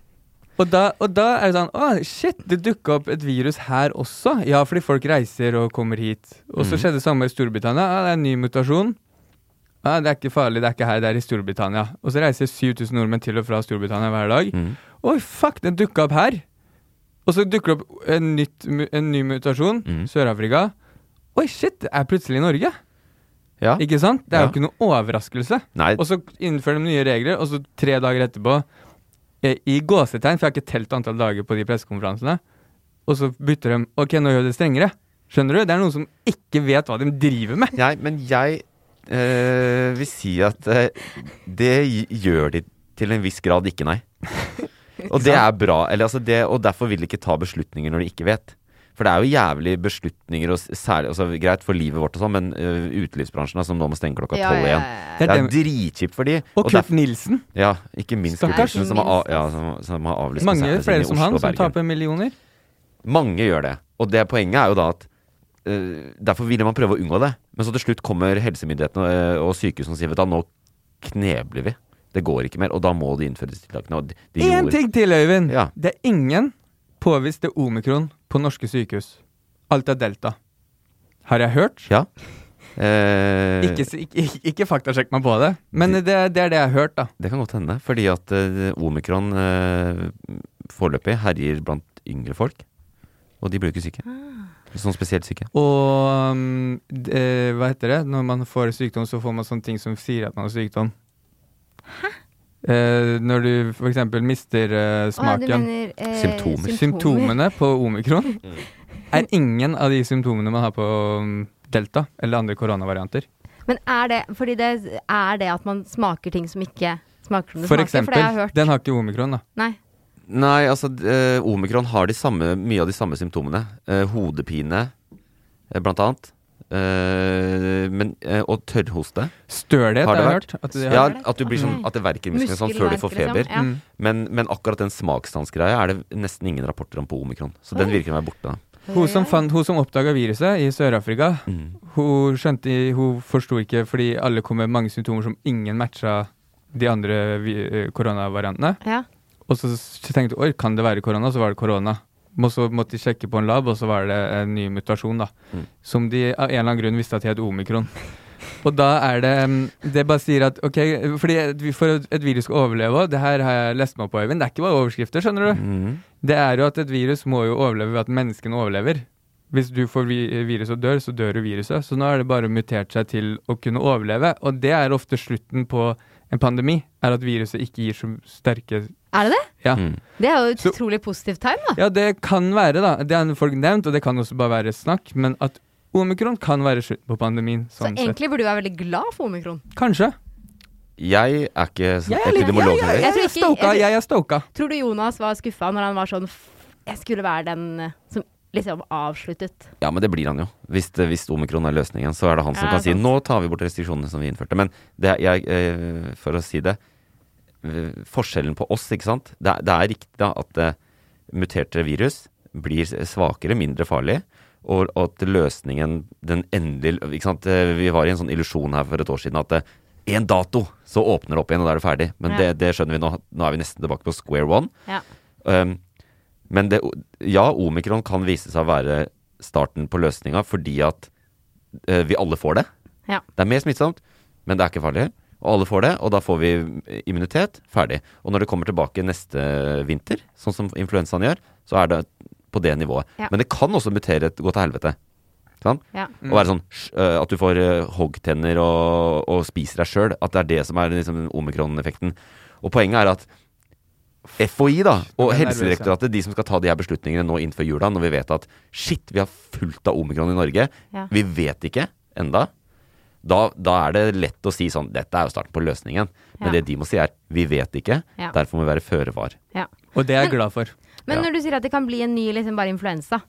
Og da, og da er det sånn Å, shit, det dukka opp et virus her også. Ja, fordi folk reiser og kommer hit. Og så
Mhm.
skjedde det samme i Storbritannia. Ja, det er en ny mutasjon. Ja, det er ikke farlig, det er ikke her, det er i Storbritannia. Og så reiser 7000 nordmenn til og fra Storbritannia hver dag.
Mhm.
Oi, fuck, den dukka opp her! Og så dukker det opp en, nytt, mu- en ny mutasjon,
Mhm.
Sør-Afrika. Oi, shit, det er plutselig Norge!
Ja.
Ikke sant? Det er
Ja.
jo ikke noe overraskelse.
Nei,
Og så innfører de nye regler, og så tre dager etterpå eh, I gåsetegn, for jeg har ikke telt antall dager på de pressekonferansene. Og så bytter de Ok, nå gjør vi det strengere. Skjønner du? Det er noen som ikke vet hva de driver med.
jeg, men jeg eh, vil si at eh, det gjør de til en viss grad ikke, nei. Og det er bra. Eller, altså det, og derfor vil de ikke ta beslutninger når de ikke vet. For det er jo jævlig beslutninger, og s- særlig, altså, greit for livet vårt og sånn, men eh, utelivsbransjen da, som nå må stenge klokka
Ja, ja,
tolv
ja,
igjen.
ja.
Det
Det
er
er
dem-
dritkjipt for de.
Og
derfor-
Kurt Nilsen.
Ja, ikke minst Kurt
Stakkars.
Nilsen, som, har av- ja, som, som har avlyst
Mange
konsertene sine i
flere som
Oslo
han,
og
som
Bergen.
taper millioner.
Mange gjør det. Og det poenget er jo da at eh, Derfor ville man prøve å unngå det. Men så til slutt kommer helsemyndighetene og, eh, og sykehusene og sier vet du, hva, nå knebler vi. Det går ikke mer. Og da må det innføres tiltakene. Og de, de
Én
gjorde-
ting til, Øyvind!
Ja.
Det er ingen påviste omikron på norske sykehus. Alt er delta. Har jeg hørt?
Ja. Eh,
Ikke, s- ikke, ikke- ikke faktasjekk meg på det, men det, det er det jeg har hørt, da.
Det kan godt hende. Fordi at eh, omikron eh, foreløpig herjer blant yngre folk. Og de blir jo ikke syke.
Ah.
Sånn spesielt syke.
Og um, d- eh, hva heter det? Når man får sykdom, så får man sånne ting som sier at man har sykdom. Hæ? når du f.eks. mister eh,
Å, ja, du
smaken.
mener, eh,
Symptomer.
Symptomene på omikron er ingen av de symptomene man har på um, delta eller andre koronavarianter.
Men er det fordi det er det at man smaker ting som ikke smaker som det smaker? For det har
For
jeg
eksempel.
hørt.
Den har ikke omikron, da.
Nei.
Nei, altså d- eh, omikron har de samme, mye av de samme symptomene. Eh, hodepine, eh, blant annet. Eh, men, eh, og tørrhoste.
Stølhet
Har
har
det
jeg
vært?
hørt. At det
Ja,
har-
at, du blir sånn, at det verker i musklene sånn før du får
Muskelverk,
feber.
liksom. Ja.
Mm.
Men, men akkurat den smakstansgreia er det nesten ingen rapporter om på omikron. Så den virker å være borte. da.
Hun som, fant- hun som oppdaga viruset i Sør-Afrika,
Mm.
hun skjønte Hun forsto ikke fordi alle kom med mange symptomer som ingen matcha de andre vi- eh, koronavariantene.
Ja.
Og så s- tenkte jeg, oi, kan det være korona? Så var det korona. Og så måtte de sjekke på en lab, og så var det en ny mutasjon, da.
Mm.
Som de av en eller annen grunn visste at het omikron. Og da er det mm, Det bare sier at OK, fordi et vi- for at et virus skal overleve, og det her har jeg lest meg opp på, Øyvind, det er ikke bare overskrifter, skjønner du.
Mm.
Det er jo at et virus må jo overleve ved at menneskene overlever. Hvis du får vi virus og dør, så dør jo viruset. Så nå har det bare mutert seg til å kunne overleve, og det er ofte slutten på en pandemi, er at viruset ikke gir så sterke
Er det det?
Ja.
Mm.
Det er jo et
Så-
utrolig positivt tegn, da.
Ja, det kan være, da. Det har folk nevnt, og det kan også bare være snakk. Men at omikron kan være slutten på pandemien.
Så
Sånn sett.
egentlig burde du være veldig glad for omikron.
Kanskje.
Jeg er ikke sånn
Jeg er litt-
epidemolog
Jeg
heller.
tror
Jeg er
ikke-
stoka.
jeg tror-
Jeg er stoka.
Tror du Jonas var skuffa når han var sånn "F- Jeg skulle være den eh, som liksom avsluttet.
Ja, men det blir han jo. Hvis, det- hvis omikron er løsningen, så er det han som
Ja,
kan si
sant.
'nå tar vi bort restriksjonene som vi innførte'. Men det, er- jeg, eh, for å si det eh, Forskjellen på oss, ikke sant. Det, er- det er riktig da at eh, muterte virus blir svakere, mindre farlig. Og at løsningen, den endelige ikke sant? eh, Vi var i en sånn illusjon her for et år siden at eh, en dato, så åpner det opp igjen, og da er det ferdig. Men
Ja.
det, det skjønner vi nå. Nå er vi nesten tilbake på square one.
Ja.
Um, men det, ja, omikron kan vise seg å være starten på løsninga fordi at eh, vi alle får det.
Ja.
Det er mer smittsomt, men det er ikke farlig. Og alle får det, og da får vi immunitet. Ferdig. Og når det kommer tilbake neste vinter, sånn som influensaen gjør, så er det på det nivået.
Ja.
Men det kan også mutere, gå til helvete. Ikke Sant?
Ja.
Og være sånn sj- eh, at du får eh, hoggtenner og, og spiser deg sjøl. At det er det som er liksom, omikron-effekten. Og poenget er at FHI da, og
Nå ble jeg
Helsedirektoratet, de som skal ta de her beslutningene nå innenfor jula, når vi vet at shit, vi har fullt av omikron i Norge.
Ja.
Vi vet ikke enda. Da, da er det lett å si sånn Dette er jo starten på løsningen. Men
Ja.
det de må si er vi vet ikke,
Ja.
derfor må vi være føre var.
ja.
Og det er jeg glad for.
Men
Ja.
når du sier at det kan bli en ny liksom bare influensa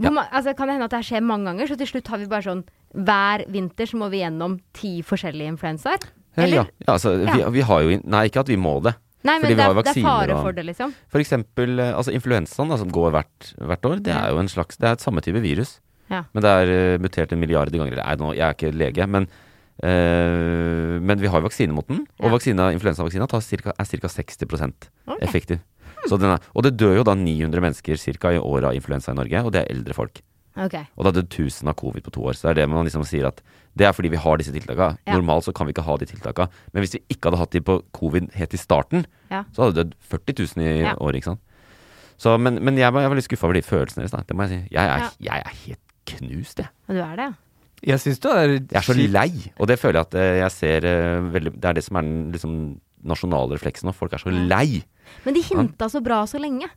hvor
Ja.
ma- altså, Kan det hende at det skjer mange ganger, så til slutt har vi bare sånn hver vinter så må vi gjennom ti forskjellige influensaer?
Ja,
Eller?
ja. ja, altså, Vi,
Ja.
vi har jo inn- Nei, ikke at vi må det.
Nei, men
Fordi vi
det
har
er,
jo
det er
vaksiner
fare
og-
for det, liksom.
For eksempel eh, altså influensaen da, som går hvert, hvert år, det er jo en slags, det er et samme type virus.
Ja.
Men det er eh, mutert en milliard ganger. Eller, I don't know, jeg er ikke lege, men, eh, men vi har jo vaksine mot den. Og
Ja.
vaksina, influensavaksina tar cirka, er ca. 60 effektiv. Så den er, og det dør jo da 900 mennesker cirka, i året av influensa i Norge, og det er eldre folk.
Ok.
Og det har dødd 1000 av covid på to år. Så det er det man liksom sier at det er fordi vi har disse tiltaka.
Ja.
Normalt så kan vi ikke ha de tiltaka. Men hvis vi ikke hadde hatt de på covid helt i starten,
Ja.
så hadde det dødd 40 000 i
Ja.
året, ikke sant. Så, men, men jeg, var, jeg var litt skuffa over de følelsene deres, da. Det må jeg si. Jeg er,
Ja.
jeg er helt knust, jeg.
Men du er det, ja?
Jeg syns det er
Jeg er så
kjipt.
lei. Og det føler jeg at eh, jeg ser eh, veldig Det er det som er den liksom, nasjonale refleksen nå. Folk er så lei.
Men de hinta så bra så lenge.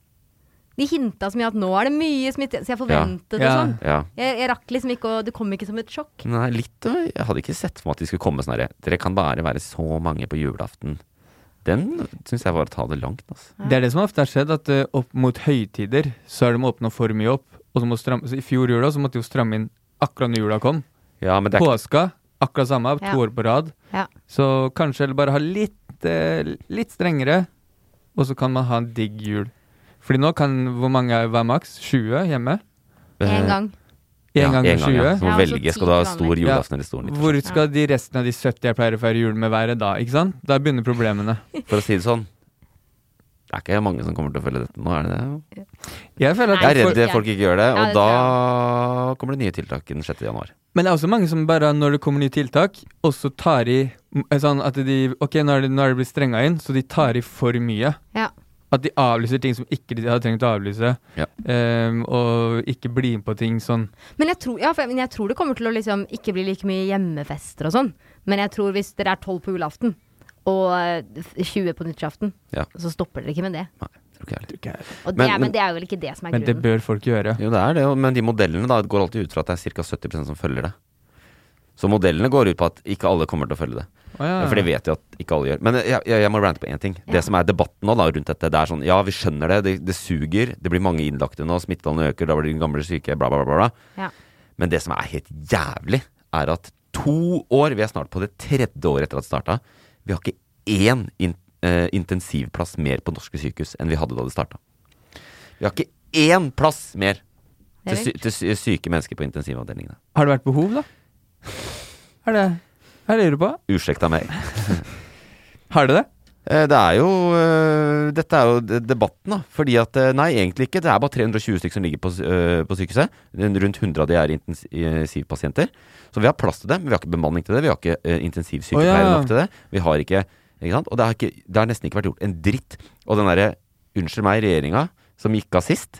De hinta så mye at nå er det mye smitte, så jeg forventet det
Ja.
sånn.
Ja.
Jeg, jeg rakk liksom ikke å Det kom ikke som et sjokk.
Nei, litt øh, Jeg hadde ikke sett for meg at de skulle komme sånn herre Dere kan bare være så mange på julaften. Den syns jeg var å ta det langt, altså.
Det er det som ofte har skjedd, at eh, opp mot høytider så har de åpna for mye opp. Og så må stramme, så I fjor jula så måtte de jo stramme inn akkurat når jula kom.
Ja, men det er ikke
Påska, akkurat samme,
Ja.
to år på rad.
Ja.
Så kanskje eller bare ha litt, eh, litt strengere, og så kan man ha en digg jul. Fordi nå kan hvor mange er hver maks? 20 hjemme?
Én gang.
Én gang
en
med 20?
Ja. Så må
Ja, altså
velge.
ti
Skal du ha
vanlig.
stor
Ja.
julaften eller stor nyttårsaften?
Hvor skal de resten av de 70 jeg pleier å feire jul med være da? ikke sant? Da begynner problemene.
For å si det sånn. Det er ikke mange som kommer til å følge dette nå, er det det?
Jeg føler
Jeg
at
er
folk-
redd det folk ikke gjør det,
Ja,
og
det
da
tror jeg.
kommer det nye tiltak den 6. januar.
Men det er også mange som bare, når det kommer nye tiltak, også tar i mm, sånn at de Ok, nå er det, nå er det blitt strenga inn, så de tar i for mye.
Ja.
At de avlyser ting som ikke de har trengt å avlyse,
Ja.
ehm, og ikke blir med på ting sånn
Men jeg, tror, ja, for jeg, men jeg tror det kommer til å liksom ikke bli like mye hjemmefester og sånn. Men jeg tror hvis dere er tolv på julaften og eh, 20 på nyttårsaften,
Ja.
så stopper dere ikke med det.
Nei, tror ikke jeg heller.
Og det,
Men-
er,
men-
men det er vel ikke det som er
Men det
grunnen.
bør folk gjøre.
Jo, det er det, og- men de modellene da, det går alltid ut fra at det er ca. 70 som følger det. Så modellene går ut på at ikke alle kommer til å følge det.
Å ja.
Ja, For det vet jeg at ikke alle gjør. Men jeg, jeg, jeg må rante på én ting.
Ja.
Det som er debatten nå da, rundt dette, det er sånn Ja, vi skjønner det, det, det suger. Det blir mange innlagte nå, smittetallene øker, da blir de gamle syke, bla, bla, bla. bla.
Ja.
Men det som er helt jævlig, er at to år, vi er snart på det tredje året etter at det starta, vi har ikke én in, eh, intensivplass mer på norske sykehus enn vi hadde da det starta. Vi har ikke én plass mer
Det
til,
er
sy, til sy, syke mennesker på intensivavdelingene.
Har det vært behov, da? Er det Er det jeg lurer på?
Uslekta meg.
Har det det?
Eh, Det er jo eh, Dette er jo de- debatten, da. Fordi at eh, Nei, egentlig ikke. Det er bare 320 stykker som ligger på, s- eh, på sykehuset. Rundt 100 av de er intens- intensivpasienter. Så vi har plass til det, men vi har ikke bemanning til det. Vi har ikke eh,
Å,
intensivsykepleiere
ja.
nok til det. Vi har ikke Ikke sant? Og det har, ikke, det har nesten ikke vært gjort en dritt. Og den derre Unnskyld meg, regjeringa som gikk av sist.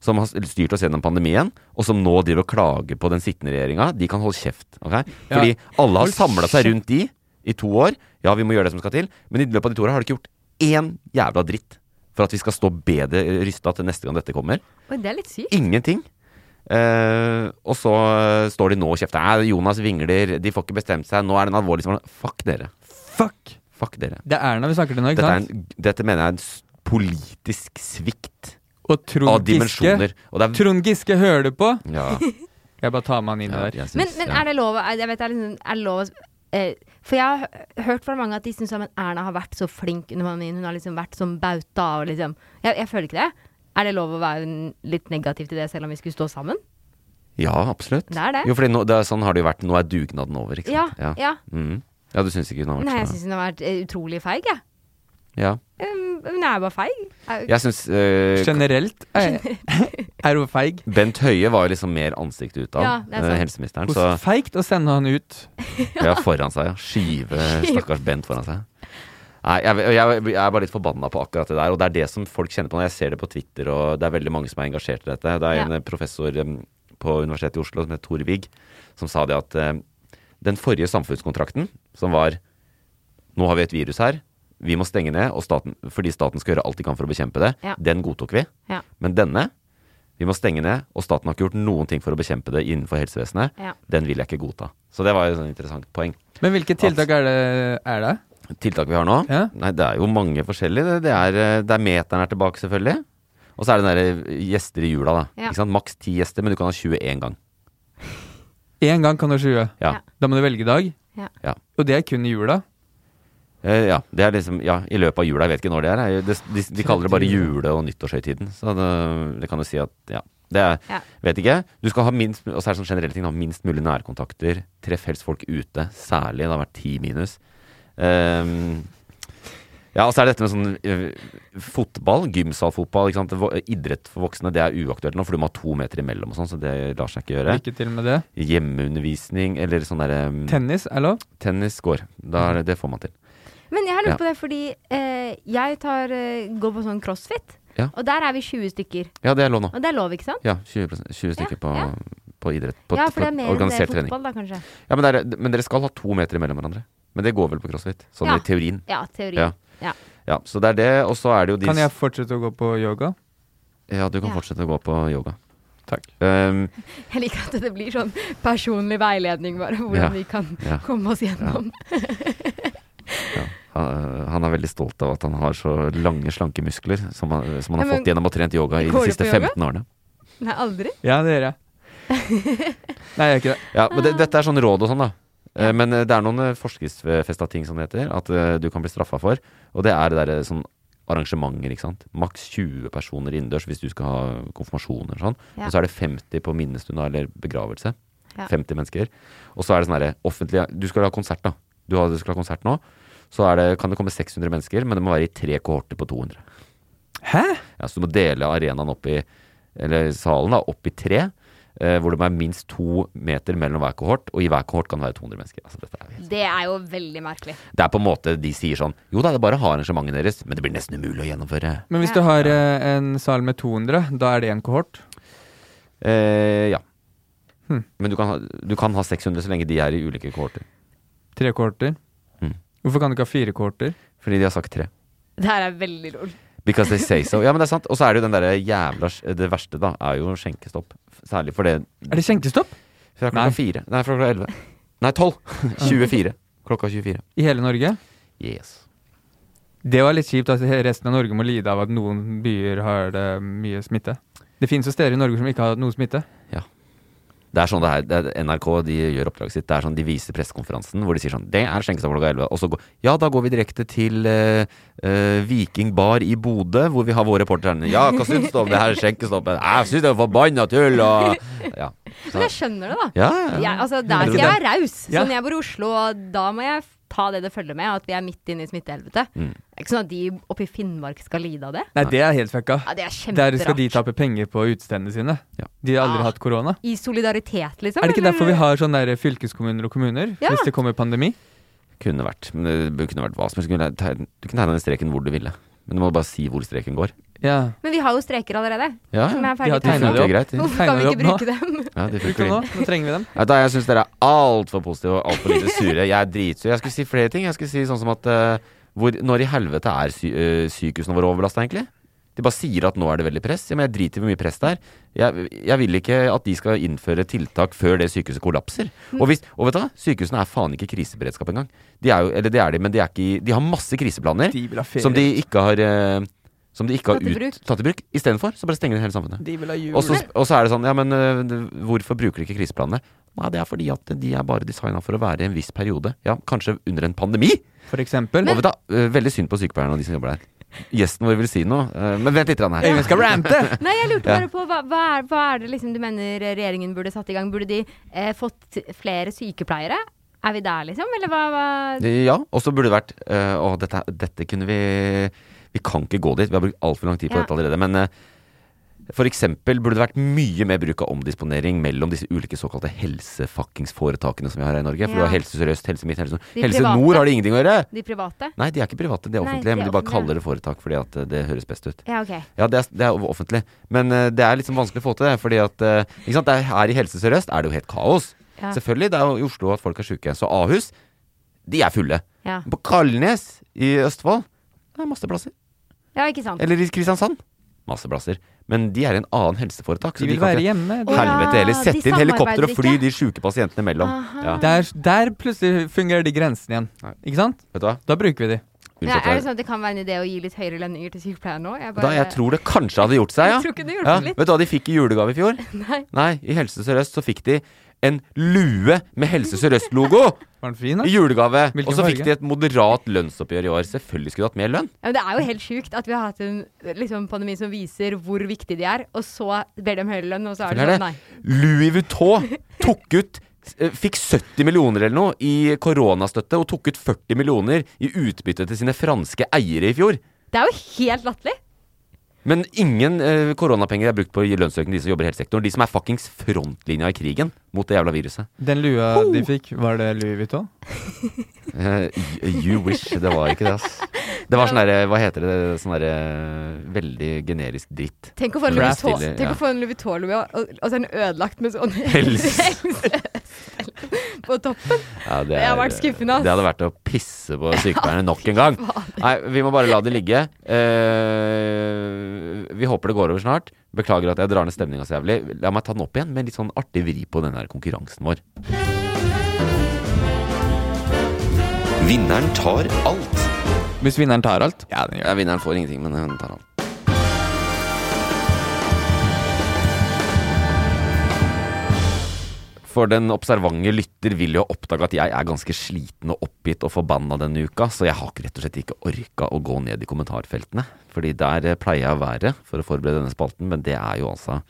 Som har styrt oss gjennom pandemien, og som nå driver og klager på den sittende regjeringa. De kan holde kjeft. ok? Fordi alle har
Hold
samla seg
kjeft.
rundt de i to år. Ja, vi må gjøre det som skal til, men i løpet av de to åra har de ikke gjort én jævla dritt for at vi skal stå bedre rysta til neste gang dette kommer.
Oi, det er litt sykt.
Ingenting. Eh, og så eh, står de nå og kjefter. Nei, Jonas vingler, de får ikke bestemt seg. Nå er det en alvorlig situasjon. Fuck dere.
Fuck!
Fuck dere.
Det er Erna vi snakker til nå, ikke
Dette, er
sant?
en, dette mener jeg er en s- politisk svikt
Og Trond
Av dimensjoner.
Giske
Og det er-
Trond Giske hører det på!
Ja.
Jeg bare tar med han inn
Ja,
der.
jeg
Men,
syns-
men
ja.
er det lov å- Jeg vet det er, liksom, er det lov å eh, For jeg har hø- hørt fra mange at de syns Erna har vært så flink under pandemien. Hun har liksom vært som bauta og liksom jeg, jeg føler ikke det. Er det lov å være n- litt negativ til det, selv om vi skulle stå sammen?
ja, absolutt.
Det er det.
Jo, fordi nå, det er, sånn har det jo vært. Nå er dugnaden over, ikke sant?
Ja, ja.
Mhm. ja du syns ikke hun har vært
Nei, jeg
sånn?
syns hun har vært eh, utrolig feig, jeg.
Ja.
Um, Hun er bare feig. Er-
Jeg syns eh,
Generelt er, er hun feig.
Bent Høie var jo liksom mer ansiktet ut av
Ja, det er sant.
eh, helseministeren.
Hvordan
Så
feigt å sende han ut.
ja, foran seg, ja. Skyve stakkars Bent foran seg. Nei, jeg, jeg, jeg er bare litt forbanna på akkurat det der, og det er det som folk kjenner på når jeg ser det på Twitter, og det er veldig mange som er engasjert i dette. Det er en
Ja.
eh, professor em, på Universitetet i Oslo som heter Tor Wigg, som sa det at eh, den forrige samfunnskontrakten, som var nå har vi et virus her, vi må stenge ned og staten, fordi staten skal gjøre alt de kan for å bekjempe det,
Ja.
den godtok vi.
Ja.
Men denne, vi må stenge ned, og staten har ikke gjort noen ting for å bekjempe det innenfor helsevesenet,
Ja.
den vil jeg ikke godta. Så det var jo et sånn interessant poeng.
Men hvilke tiltak er det? Er det?
Tiltak vi har nå?
Ja.
Nei, det er jo mange forskjellige. Det, det, er, eh, det er meteren er tilbake, selvfølgelig. Og så er det den derre gjester i jula, da.
Ja.
Ikke sant? Maks ti gjester, men du kan ha 21 gang.
Én gang kan du ha 20.
Ja.
Ja.
Da må du velge dag.
Ja.
Ja.
Og det er kun i jula.
Eh, ja. Det er liksom Ja, i løpet av jula. Jeg vet ikke når det er. jeg. Det, de, de kaller det bare jule- og nyttårshøytiden. Så det, det kan jo si at Ja. Det er
Ja.
Vet ikke. Du skal ha minst Og så er det sånn generelle ting. Da, minst mulig nærkontakter. Treff helst folk ute. Særlig. Det har vært ti minus. Ehm, ja, og så er det dette med sånn eh, fotball, gymsalfotball, ikke sant? Vo- idrett for voksne, det er uaktuelt nå, for du må ha to meter imellom og sånn, så det lar seg ikke gjøre.
Lykke til med det.
Hjemmeundervisning eller sånn derre
Tennis er lov.
Tennis går. Da er det, det får man til.
Men jeg har lurt
Ja.
på det fordi eh, jeg tar, eh, går på sånn crossfit,
Ja.
og der er vi 20 stykker.
Ja, det er lov nå.
Og det er lov, ikke sant?
Ja, 20, 20 stykker på,
ja.
på idrett. På,
ja, for det er
på
mer enn det
organisert trening.
fotball, da, kanskje.
Ja, men, det er, men dere skal ha to meter imellom hverandre. Men det går vel på crossfit, sånn
Ja.
i teorien.
Ja, teori.
Ja. Ja, så det er det, og så er det jo de
Kan jeg fortsette å gå på yoga?
Ja, du kan
Ja.
fortsette å gå på yoga.
Takk.
Ehm,
Jeg liker at det blir sånn personlig veiledning, bare. Hvordan
Ja,
vi kan
ja.
komme oss gjennom.
han, han er veldig stolt av at han har så lange, slanke muskler som han, som han har
Ja, men-
fått gjennom å ha trent yoga i de
Går du
siste
på yoga?
15 årene.
Nei, aldri.
Ja, det gjør jeg. Nei, jeg gjør ikke det.
Ja, men det,
Ah.
Dette er sånn råd og sånn, da. Eh, Men eh, det er noen eh, forskriftsfesta ting som det heter, at eh, du kan bli straffa for. Og det er det derre sånn arrangementer, ikke sant. Maks 20 personer innendørs hvis du skal ha konfirmasjoner og sånn.
Ja.
Og så er det 50 på minnestund da, eller begravelse.
Ja.
50 mennesker. Og så er det sånn derre offentlig Du skal ha konsert, da. Du, har, du skal ha konsert nå. Så er det, kan det komme 600 mennesker, men det må være i tre kohorter på 200.
Hæ?
Ja, så du må dele arenaen opp i Eller salen da, opp i tre eh, Hvor det må være minst to meter mellom hver kohort Og i hver kohort kan det være 200 mennesker altså, dette er, jo helt-
Det er jo veldig merkelig.
Det er på en måte de sier sånn Jo da, det er bare å ha arrangementet deres Men det blir nesten umulig å gjennomføre
Men hvis du har eh, en sal med 200, da er det en kohort?
eh, Ja
Hmm.
Men du kan, ha, du kan ha 600 så lenge de er i ulike kohorter
Tre kohorter?
Mm.
Hvorfor kan du ikke ha fire kohorter?
Fordi de har sagt tre
Det her er veldig lol.
Because they say so Ja, men det er sant Og så er det jo den der jævla Det verste da er jo skjenkestopp Særlig for det
Er det skjenkestopp
Fra
Nei.
klokka fire Nei, fra klokka 11 Nei, 12 24 Klokka 24
i hele Norge?
Yes
Det var litt kjipt at resten av Norge må lide av at noen byer har det mye smitte. Det finnes jo steder i Norge som ikke har hatt noe smitte.
Det er sånn det er, det er NRK de gjør oppdraget sitt. Det er sånn De viser pressekonferansen hvor de sier sånn Det er skjenkestopp klokka 11. Og så går Ja, da går vi direkte til eh, eh, Viking bar i Bodø, hvor vi har vår reporter her. Ja, hva syns du om det her skjenkestoppet? Jeg syns det er forbanna tull og Ja.
Men jeg skjønner det, da.
Ja, ja, ja.
Jeg, altså, der skal jeg være raus.
Ja.
Sånn jeg bor i Oslo, og da må jeg f- ta det det følger med, at vi er midt inne i smittehelvete. Det er ikke sånn at de oppe i Finnmark skal lide av det.
Mm. Nei, det er helt fucka.
Ja, det er
Der skal de
kjemperart.
tape penger på utestedene sine.
Ja.
De har aldri
Ah.
hatt korona.
I solidaritet, liksom.
Er det ikke
eller?
derfor vi har sånne der fylkeskommuner og kommuner?
Ja.
Hvis det kommer pandemi?
altså-
Kunne vært Men det bør- kunne vært hva som helst. Du kunne tegne- Du kunne tegna den streken hvor du ville. Men du må bare si hvor streken går.
Ja.
Men vi har jo streker allerede.
Ja,
Som
ja.
er ferdig
har tegnet
tegnet
det
opp.
er greit.
Hvorfor
Tegnet
kan vi
det
ikke
opp
bruke dem?
Ja, det
Bruk dem
funker.
nå. Nå trenger vi dem.
Vet du hva, jeg syns dere er altfor positive og altfor lite sure. Jeg er dritsur. Jeg skulle si flere ting. Jeg skulle si sånn som at eh, hvor, Når i helvete er sy eh, sykehusene våre overbelasta, egentlig? De bare sier at nå er det veldig press. Ja, men jeg driter i hvor mye press det er. Jeg, jeg vil ikke at de skal innføre tiltak før det sykehuset kollapser. Og, hvis, og vet du hva? Sykehusene er faen ikke i kriseberedskap engang. De er jo, eller det er de, men de, er ikke, i- de har masse kriseplaner
De vil ha ferie.
som de ikke har eh, som de ikke har
Tatt i
ut,
bruk.
tatt i bruk. Istedenfor så bare stenger de hele samfunnet.
De vil ha jul.
Og så, og så er det sånn Ja, men øh, det- hvorfor bruker de ikke kriseplanene? Nei, det er fordi at de er bare designa for å være i en viss periode. Ja, kanskje under en pandemi!
For eksempel.
Og vet du, øh, veldig synd på sykepleierne og de som jobber der. Gjesten vår vil si noe, øh, men vent litt grann her.
Øyvind skal rante!
Nei, jeg lurte
Ja.
bare på hva, hva, er, hva er det liksom du mener regjeringen burde satt i gang? Burde de eh, fått flere sykepleiere? Er vi der, liksom? Eller hva, hva?
Ja, og så burde det vært øh, Å, dette, dette kunne vi Vi kan ikke gå dit. Vi har brukt altfor lang tid på
Ja.
dette allerede. Men øh, for eksempel burde det vært mye mer bruk av omdisponering mellom disse ulike såkalte helsefuckingsforetakene som vi har her i Norge. For du
Ja.
har Helse Sør-Øst, Helse Midt, Helse Nord.
De
Helse
private.
Nord har det ingenting å gjøre!
De private?
Nei, de er ikke private, de er
Nei,
offentlige.
de er
men de bare
offentlige.
kaller det foretak fordi at eh, det høres best ut.
Ja, ok.
Ja, det er, det er offentlig. Men eh, det er liksom vanskelig å få til det. fordi at eh, ikke sant, det er, Her i Helse Sør-Øst er det jo helt kaos.
Ja.
Selvfølgelig. Det er jo i Oslo at folk er sjuke. Så Ahus, de er fulle.
Ja,
På Kalnes i Østfold, det er masse plasser.
ja ikke
Eh,
sant.
Eller i Kristiansand, masse plasser. Men de er i en annen helseforetak.
De
så
vil
kan
være
ikke-
hjemme.
Å,
De.
ja.
Helvete
de
heller. Sett inn helikopter og
samarbeider
fly
ikke.
de sjuke pasientene imellom.
Aha.
Ja.
Der, der plutselig fungerer de grensene igjen.
Nei.
Ikke sant?
Vet du hva?
Da bruker vi de.
Ja,
Unnskyld.
er det
at jeg-
sånn at det kan være en idé å gi litt høyere lønninger til sykepleiere nå? Jeg,
Da, jeg tror det kanskje hadde gjort seg, ja.
Jeg tror ikke det hjulpet
Ja, vet
litt.
du hva de fikk i julegave i fjor?
Nei.
Nei, i Helse Sør-Øst så fikk de en lue med Helse Sør-Øst-logo
Var den fin,
i
da?
julegave.
Hvilken
Og så fikk
farge?
de et moderat lønnsoppgjør i år. Selvfølgelig skulle de hatt mer lønn.
Ja, men det er jo helt sjukt at vi har hatt en liksom, pandemi som viser hvor viktig de er, og så ber de om høyere lønn, og så er
Følg
det
her
sånn nei.
det. Louis Vuitton tok ut eh, Fikk 70 millioner eller noe i koronastøtte og tok ut 40 millioner i utbytte til sine franske eiere i fjor.
Det er jo helt latterlig.
Men ingen eh, koronapenger er brukt på å gi lønnsøkning til de som jobber i helsesektoren. De som er fuckings frontlinja i krigen mot det jævla viruset.
Den lua de fikk, var det Louis Vuitton?
Eh, you wish. Det var ikke det, ass. Det var sånn derre Hva heter det? Sånn derre veldig generisk dritt.
Tenk å få en Louis
Craft.
Vuitton-
Stille,
tenk
ja.
å få en Louis Vuitton-lue, og, og så er den ødelagt med sånn
Helse.
på toppen.
Ja,
Det har vært skuffende, ass.
Det hadde vært å pisse på sykepleierne nok en gang. Nei, vi må bare la det ligge. Eh, vi håper det går over snart. Beklager at jeg drar ned stemninga så jævlig. La meg ta den opp igjen med litt sånn artig vri på den her konkurransen vår. Vinneren tar alt.
Hvis vinneren tar alt? Ja, den
Ja, vinneren får ingenting, men hun tar alt. For den observante lytter vil jo oppdage at jeg er ganske sliten og oppgitt og forbanna denne uka, så jeg har ikke- rett og slett ikke orka å gå ned i kommentarfeltene. Fordi der eh, pleier jeg å være for å forberede denne spalten, men det er jo altså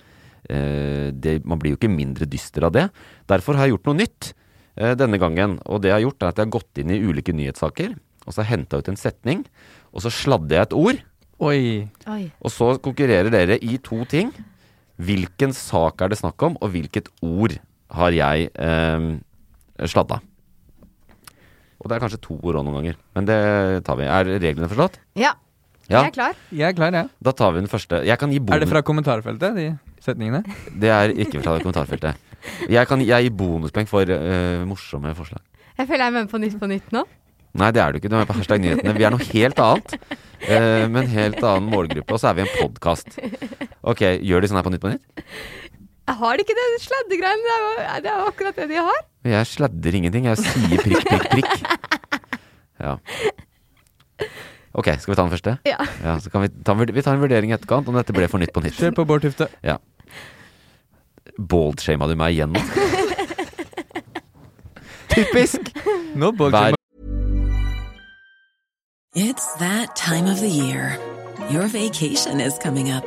eh, det, Man blir jo ikke mindre dyster av det. Derfor har jeg gjort noe nytt eh, denne gangen. Og det jeg har gjort, er at jeg har gått inn i ulike nyhetssaker, og så har jeg henta ut en setning, og så sladder jeg et ord.
Oi.
Oi.
Og så konkurrerer dere i to ting. Hvilken sak er det snakk om, og hvilket ord har jeg eh, sladda? Og det er kanskje to ord òg noen ganger, men det tar vi. Er reglene forstått?
Ja,
Ja,
jeg er klar.
Jeg er klar, jeg.
da tar vi den første. Jeg kan gi
Er det
bonus.
fra kommentarfeltet, de setningene?
Det er ikke fra kommentarfeltet. Jeg kan jeg gir bonuspoeng for eh, morsomme forslag.
Jeg føler jeg er med på Nytt på Nytt nå.
Nei, det er du ikke. Du er med på hashtag nyhetene. Vi er noe helt annet. eh, med en helt annen målgruppe. Og så er vi en podkast. Ok, gjør de sånn her på Nytt på Nytt?
Jeg har ikke det sladdegreiene. Det er jo- Det er jo akkurat det de har.
Men Jeg sladder ingenting. Jeg sier prikk, prikk, prikk. Ja. Ok, skal vi ta den første?
Ja.
så kan vi, ta en, vurd- vi tar en vurdering i etterkant om dette ble for nytt på nytt.
Kjør på Bård Tufte.
Baldshama du meg igjen nå? Typisk!
Nå Bård
Hver
It's that time of the year. Your vacation is coming up.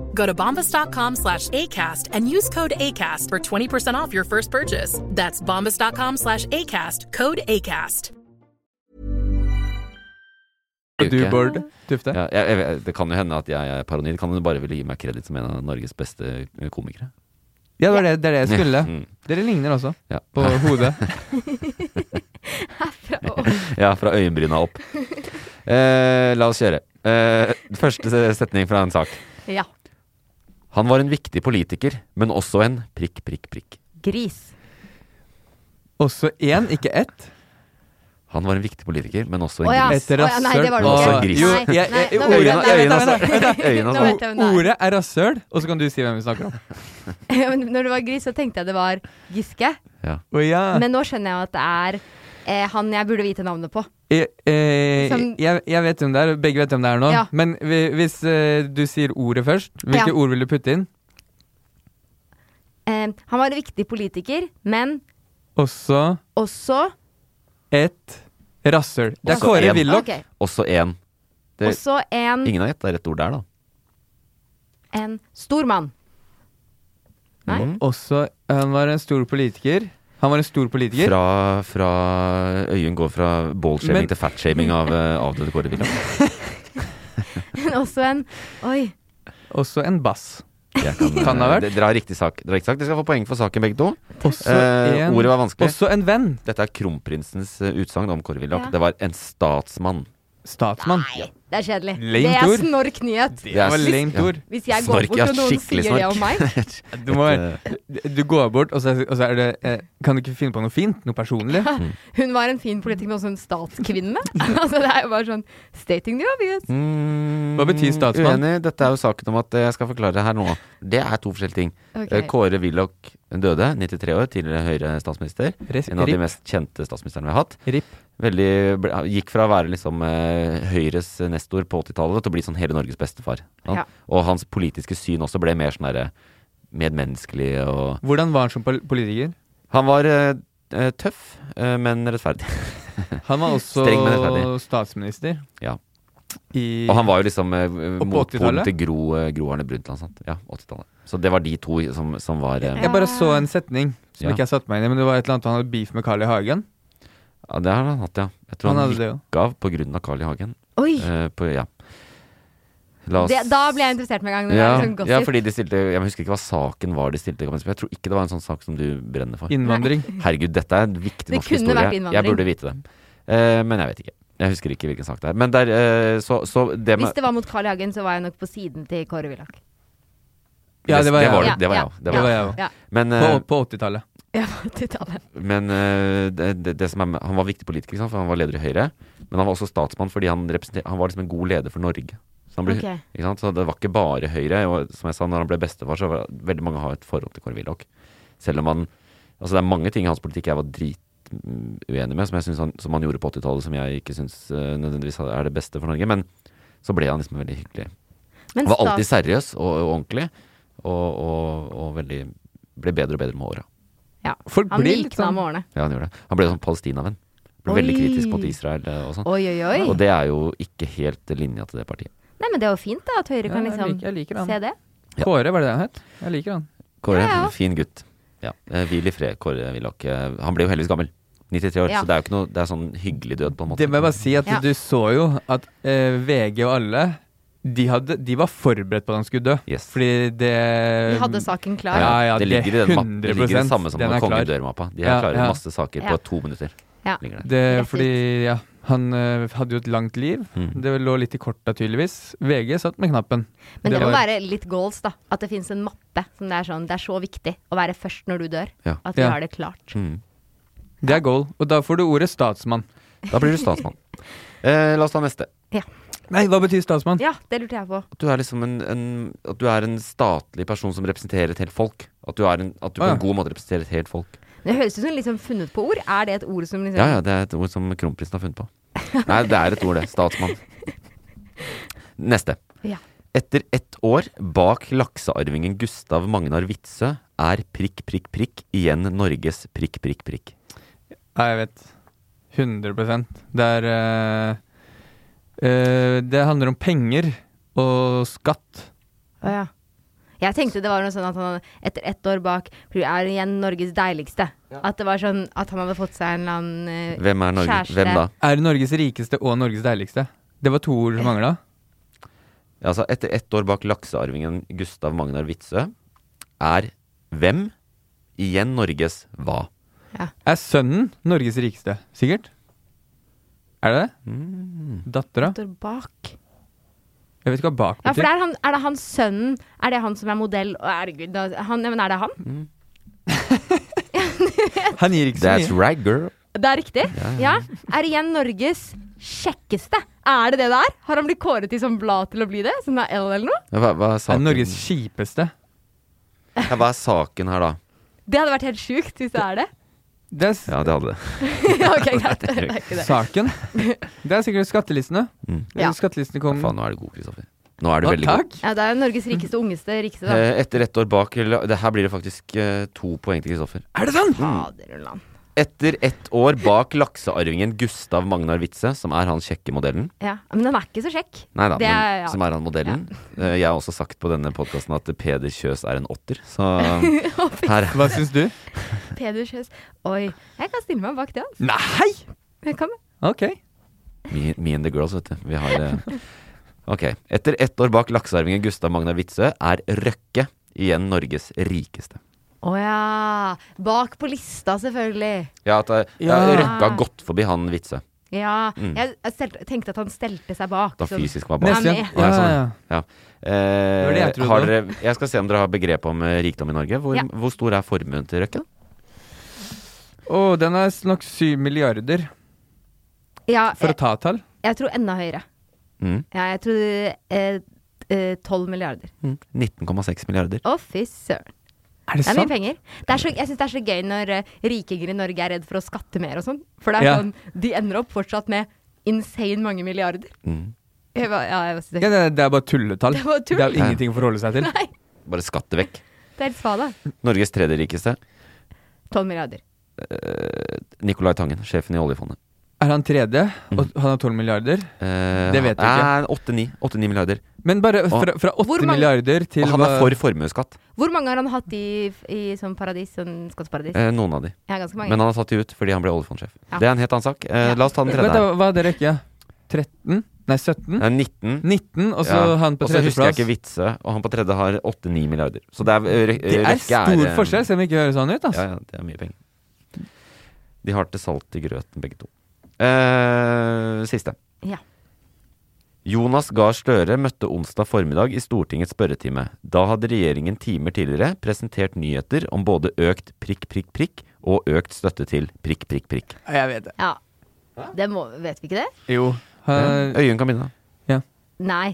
Go to bombas.com slash ACAST and use code ACAST for 20% off your first purchase. That's bombas.com slash ACAST, code ACAST.
Og du, Bård Tufte?
Ja, jeg, jeg, det kan jo hende at jeg er paranoid. Kan du bare ville gi meg kreditt som en av Norges beste eh, komikere?
Ja, det, var det, det er det jeg skulle.
Mm.
Dere ligner også.
Ja.
På hodet.
ja, fra øyenbryna opp. Eh, la oss kjøre. Eh, første setning fra en sak.
Ja.
Han var en viktig politiker, men også en prikk, prikk, prikk.
Gris.
Også én, ikke ett.
Han var en viktig politiker, men også
Å
en
ja.
gris.
Et rasshøl.
Å ja, nei, det var det
Og
ikke.
en gris.
Jo,
Nei,
jeg-
nei,
jeg-
nå vet jeg- nei,
øynene-
nå
øynene-
vet jeg-
øynene-
øynene-
Nå vet jeg hvem det er.
Ordet er rasshøl, og så kan du si hvem vi snakker om.
Ja, men Når det var gris, så tenkte jeg det var Giske.
Å ja.
Men nå skjønner jeg at det er eh, han jeg burde vite navnet på.
Eh, eh,
Som-
jeg, jeg vet hvem det er, og begge vet hvem det er nå.
Ja.
Men vi, hvis eh, du sier ordet først, hvilke
Ja.
ord vil du putte inn?
Eh, han var en viktig politiker, men
Også
også
et rasshøl. Det er
Også
Kåre
en.
Willoch.
Ok.
Også en. Det,
Også en,
ingen har gjetta rett ord der, da.
en stor mann. Nei.
Og- Også Han var en stor politiker. Han var en stor politiker.
Fra, fra Øyunn går fra ballshaming
Men-
til fatshaming av eh, avdøde Kåre Willoch.
Men også en Oi.
Også en bass.
Jeg Kan,
Kan det ha
eh,
vært?
d- Dere har riktig sak. Dere, har riktig sak. dere skal få poeng for saken, begge to.
Også
Eh,
en-
ordet var vanskelig.
Også en venn.
Dette er kronprinsens eh, utsagn om Kåre Willoch.
Ja.
Det var en statsmann.
Statsmann.
Det er kjedelig.
Lamt
det er
ord.
snork nyhet.
Det er
var
s-
lamt
ja.
ord.
Hvis jeg går
Snork,
bort
ja,
og noen
skikkelig
sier det
snork.
om meg
Du, må,
eh,
du går bort, og så, og så er det eh, Kan du ikke finne på noe fint? Noe personlig?
Mm. Hun var en fin politiker, men også en statskvinne. altså, det er jo bare sånn stating the obvious.
Mm.
Hva betyr statsmann?
Uenig. Dette er jo saken om at eh, jeg skal forklare det her nå. Det er to forskjellige ting.
Ok.
Eh, Kåre Willoch døde, 93 år, tidligere høyre statsminister.
Res-
en av
rip.
de mest kjente statsministrene vi har hatt.
Rip.
Veldig, ble, gikk fra å være liksom eh, Høyres nestor på 80-tallet til å bli sånn hele Norges bestefar. sant?
Ja.
Og hans politiske syn også ble mer sånn derre medmenneskelig og
Hvordan var han som pol- politiker?
Han var eh, eh, tøff, eh, men rettferdig.
Han var
Streng, men rettferdig.
også statsminister.
Ja.
I-
Og han var jo liksom eh,
på
motpolen
80-tallet?
til Gro, eh, Gro Arne Brundtland. Sant? Ja, 80-tallet. Så det var de to som, som var eh,
Jeg bare så en setning som
Ja.
ikke jeg satte meg inn i, men det var et eller annet han hadde beef med Carl I. Hagen.
Ja, det har han hatt, ja. Jeg tror
Han
han,
hadde det,
gikk av på grunn av Carl I. Hagen.
Oi.
Eh, på, ja. La oss
Det, da ble jeg interessert med en gang. Når
ja,
det er sånn gossip.
ja, fordi de stilte Jeg husker ikke hva saken var de stilte. men Jeg tror ikke det var en sånn sak som du brenner for.
Innvandring.
Herregud, dette er en viktig
Det
norsk
kunne
historie.
vært innvandring.
Jeg burde vite det. Eh, men jeg vet ikke. Jeg husker ikke hvilken sak det er. Men der, eh, så, så det med
Hvis det var mot Carl I. Hagen, så var jeg nok på siden til Kåre Willoch.
Ja, det var jeg.
Det var
Ja,
jeg. Det
ja,
var jeg.
ja.
Men,
På,
eh,
på 80-tallet.
Ja, på 80-tallet.
men eh, det, det, det som er med, han var viktig politiker, ikke sant? for han var leder i Høyre. Men han var også statsmann fordi han, representer- han var liksom en god leder for Norge. Så, han ble,
Ok.
ikke sant? så det var ikke bare Høyre. Og som jeg sa, når han ble bestefar, så var veldig mange har et forhold til Kåre Willoch. Selv om han Altså, det er mange ting i hans politikk jeg var drituenig med, som, jeg synes han, som han gjorde på 80-tallet, som jeg ikke syns nødvendigvis er det beste for Norge. Men så ble han liksom veldig hyggelig.
Men
Han var
stat-
alltid seriøs og, og ordentlig, og, og, og veldig Ble bedre og bedre med åra.
Ja.
Folk
han
blir litt
liksom-
likna
sånn-
med årene.
Ja, han gjorde det. Han ble sånn Palestina-venn. Ble veldig
Oi.
kritisk mot Israel eh, og sånn.
Oi, oi, oi.
Og det er jo ikke helt linja til det partiet.
Nei, men det er jo fint da, at Høyre
Ja,
kan
jeg
liksom
liker- jeg liker han.
se det.
Kåre, var det det han het? Jeg liker han.
Kåre,
Ja, ja.
fin gutt. Ja. eh, Hvil i fred, Kåre Willoch. Eh, Han ble jo heldigvis gammel. 93 år,
Ja.
så det er jo ikke noe Det er sånn hyggelig død, på en måte.
Det må jeg bare si at
Ja.
du så jo at eh, VG og alle de, hadde, de var forberedt på at han skulle dø. Fordi det
Um,
Vi hadde saken klar.
Ja, ja,
det
det
ligger i den mappen. Det ligger i det
100%
samme som
den er
Kongen
klar.
dør-mappa. De
Ja,
her klarer
ja.
masse saker
Ja.
på to minutter.
Ja.
ligger der.
Det, fordi ja, han eh, hadde jo et langt liv. Det lå litt i korta, tydeligvis. VG satt med knappen.
Men det, må
var-
være litt goals, da. At det finnes en mappe som det er sånn Det er så viktig å være først når du dør.
Ja.
At vi
Ja.
har det klart.
Mm.
Det er goal. Og da får du ordet statsmann.
Da blir du statsmann. Eh, la oss ta neste.
Ja.
Nei, hva betyr statsmann?
ja, det lurte jeg på.
At du er liksom en, en At du er en statlig person som representerer et helt folk. At du, er en, at du
Å,
på
ja.
en god måte representerer et helt folk.
Det høres ut som liksom funnet på ord. Er det et ord som liksom
Ja, ja, det er et ord som kronprinsen har funnet på. Nei, det er et ord, det. Statsmann. Neste.
Ja.
Etter ett år bak laksearvingen Gustav Magnar Witzøe er prikk, prikk, prikk igjen Norges prikk, prikk, prikk.
Ja, jeg vet. 100 Det er eh, eh, Det handler om penger og skatt.
Å, ja. Jeg tenkte det var noe sånn at han etter ett år bak er igjen Norges deiligste. At det var sånn at han hadde fått seg en eller annen eh, kjæreste.
Er Norges rikeste og Norges deiligste. Det var to ord som mangla.
Ja, Altså, etter ett år bak laksearvingen Gustav Magnar Witzøe er hvem igjen Norges hva?
Er sønnen Norges rikeste, sikkert? Er det det?
Mm.
Dattera?
Står bak.
Jeg vet ikke hva bak
Ja, for
betyr.
det er, han, er det han sønnen Er det han som er modell? Å, herregud, da, han, ja, men er det han?
Mm.
Han gir ikke så
That's
mye.
right, girl.
Det er riktig?
Ja,
Ja.
ja.
Er igjen Norges kjekkeste. Er det det det er? Har han blitt kåret til sånn blad til å bli det? Som det er L eller noe?
Ja, Hva, hva er saken?
Norges kjipeste.
Ja, hva er saken her, da?
Det hadde vært helt sjukt hvis det er det.
Ja, det hadde det.
Ja, ok, greit. Det er ikke det.
Saken? Det er sikkert skattelistene.
Ja.
Skattelistene kom
Mm. Faen, nå er du god, Kristoffer. Nå er du
Å,
veldig god.
Ja, det er Norges rikeste, ungeste, rikeste, da.
Eh, Etter ett år bak la- Det her blir det faktisk eh, to poeng til Kristoffer.
Er det sant?
Faderullan.
Etter ett år bak laksearvingen Gustav Magnar Witzøe, som er han kjekke modellen.
Ja. Men den er ikke så kjekk.
Nei da,
Det
men,
er- ja.
som er han modellen. Eh, Jeg har også sagt på denne podkasten at Peder Kjøs er en åtter, så her
Hva syns du?
Peder Kjøs. Oi. Jeg kan stille meg bak det, altså.
Nei!
Jeg kan det.
Ok.
Me, me and the girls, vet du. Vi har eh, Ok. Etter ett år bak laksearvingen Gustav Magnar Witzøe er Røkke igjen Norges rikeste.
Å ja. Bak på lista, selvfølgelig.
Ja, at eh,
Ja.
Røkke har gått forbi han Witzøe.
Ja.
Mm.
Jeg, jeg stel- tenkte at han stelte seg bak.
Da
sånn.
fysisk var
Han
bak.
er med.
Å, ja, sånn,
Ja,
ja. Eh,
Det var det jeg trodde.
har dere, jeg skal se om dere har begrep om eh, rikdom i Norge. Hvor,
Ja.
hvor stor er formuen til Røkke? da?
Å, den er nok syv milliarder.
Ja,
For
jeg,
å ta et tall.
jeg tror enda høyere.
Mm.
Ja, jeg tror eh, eh, 12 milliarder.
Mm.
19,6 milliarder.
Å, fy søren.
Er det
er mye
sant?
penger. Det er så, jeg syns det er så gøy når eh, rikinger i Norge er redd for å skatte mer og sånn. For det er
Ja.
sånn, de ender opp fortsatt med insane mange milliarder.
Mm.
Jeg bare, ja, jeg bare synes
Ja, det, det er bare tulletall.
Det er bare tull.
Det er jo ingenting å forholde seg til.
Nei,
Bare skatte vekk.
det er helt svada.
Norges tredje rikeste.
12 milliarder.
Eh, Nicolai Tangen, sjefen i oljefondet.
Er han tredje,
Mm.
og han har tolv milliarder?
Eh,
Det vet jeg ikke.
eh, 8-9 8-9 milliarder.
Men bare
Og-
fra, fra
Hvor
åtte
mange-
milliarder til
Og han er
hva-
for formuesskatt.
Hvor mange har han hatt i, i sånn paradis? Sånn skatteparadis?
Eh, noen av de.
Ja, ganske mange.
Men han har tatt de ut fordi han ble oljefondsjef.
Ja.
Det er en helt annen sak. Eh, La oss ta den
Vent, da,
tredje. her.
hva er det rekka? 13? Nei, 17?
Det er 19.
19, og så han på
Og så husker jeg
tredjeplass.
ikke Vitse, og han på tredje har 8-9 milliarder. Så det er, eh, Rø-
Det er
Røkke
stor
eh,
forskjell, selv om det ikke høres sånn ut. Altså.
Ja, ja, det er mye penger. De har til salt i grøten, begge to. Eh, siste.
Ja.
Jonas Gahr Støre møtte onsdag formiddag i Stortingets spørretime. Da hadde regjeringen timer tidligere presentert nyheter om både økt prikk, prikk, prikk og økt støtte til prikk, prikk, prikk.
Jeg vet det.
Ja. det må, vet vi ikke det?
Jo.
Ja, Øyunn kan begynne.
Nei.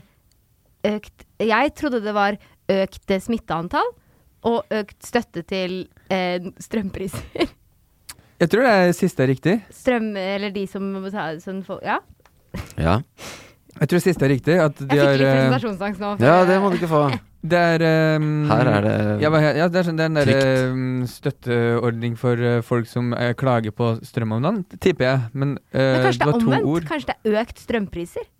Økt Jeg trodde det var økt eh, smitteantall og økt støtte til eh, strømpriser.
Jeg tror det er siste er riktig.
Strøm Eller de som må betale sånn for Ja.
Ja.
Jeg tror siste er riktig. At de
Jeg fikk
har,
litt
eh,
presentasjonsangst nå. for
Ja,
jeg-
det må du ikke få.
Det er ehm,
Her er det
ja, hva he- ja, det er sånn, det er den der
trygt.
ehm, støtteordning for eh, folk som eh, klager på strøm om dagen, det tipper jeg. Men, eh,
Men kanskje det
det
er
var to
omvendt?
ord.
Kanskje det er økt strømpriser?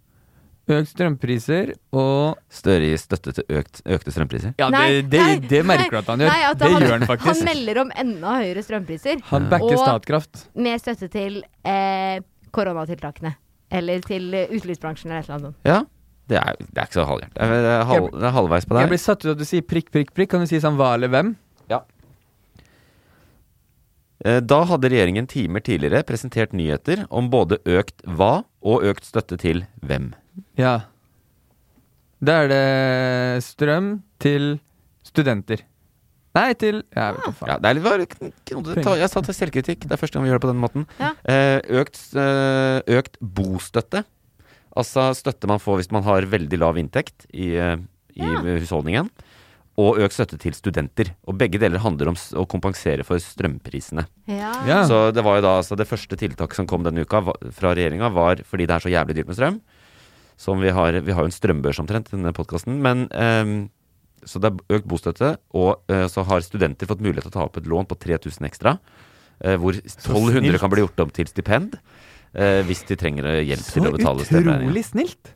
Økt strømpriser og
Støre gir støtte til økt, økte strømpriser.
Ja,
Nei,
det, det,
nei,
det merker du at han gjør.
Nei, at
det gjør han faktisk.
Han melder om enda høyere strømpriser.
Han backer
og
Statkraft.
Med støtte til eh, koronatiltakene. Eller til eh, utelivsbransjen eller et eller annet sånt.
Ja. Det er, det er ikke så halvhjertet. Det er- Det er, halv, det er halvveis på
Jeg
deg.
blir satt ut av at du sier prikk, prikk, prikk. Kan du si sånn hva eller hvem?
Eh, Da hadde regjeringen timer tidligere presentert nyheter om både økt hva og økt støtte til hvem.
Ja. Da er det strøm til studenter. Nei, til Jeg vet ikke faen.
Ja, det er litt var- knodet. Ta- Jeg sa til selvkritikk. Det er første gang vi gjør det på den måten.
Ja.
Eh, Økt, eh, økt bostøtte. Altså støtte man får hvis man har veldig lav inntekt i, eh, i husholdningen. Og økt støtte til studenter. Og begge deler handler om s- å kompensere for strømprisene.
Ja.
Ah. Ja.
Så det var jo da altså det første tiltaket som kom denne uka va- fra regjeringa, var fordi det er så jævlig dyrt med strøm. Som vi har Vi har jo en strømbørs omtrent i denne podkasten. Men ehm, så det er økt bostøtte, og eh, så har studenter fått mulighet til å ta opp et lån på 3000 ekstra. eh, hvor 1200
snilt.
kan bli gjort om til stipend eh, hvis de trenger eh, hjelp til å betale strømregninga.
utrolig snilt!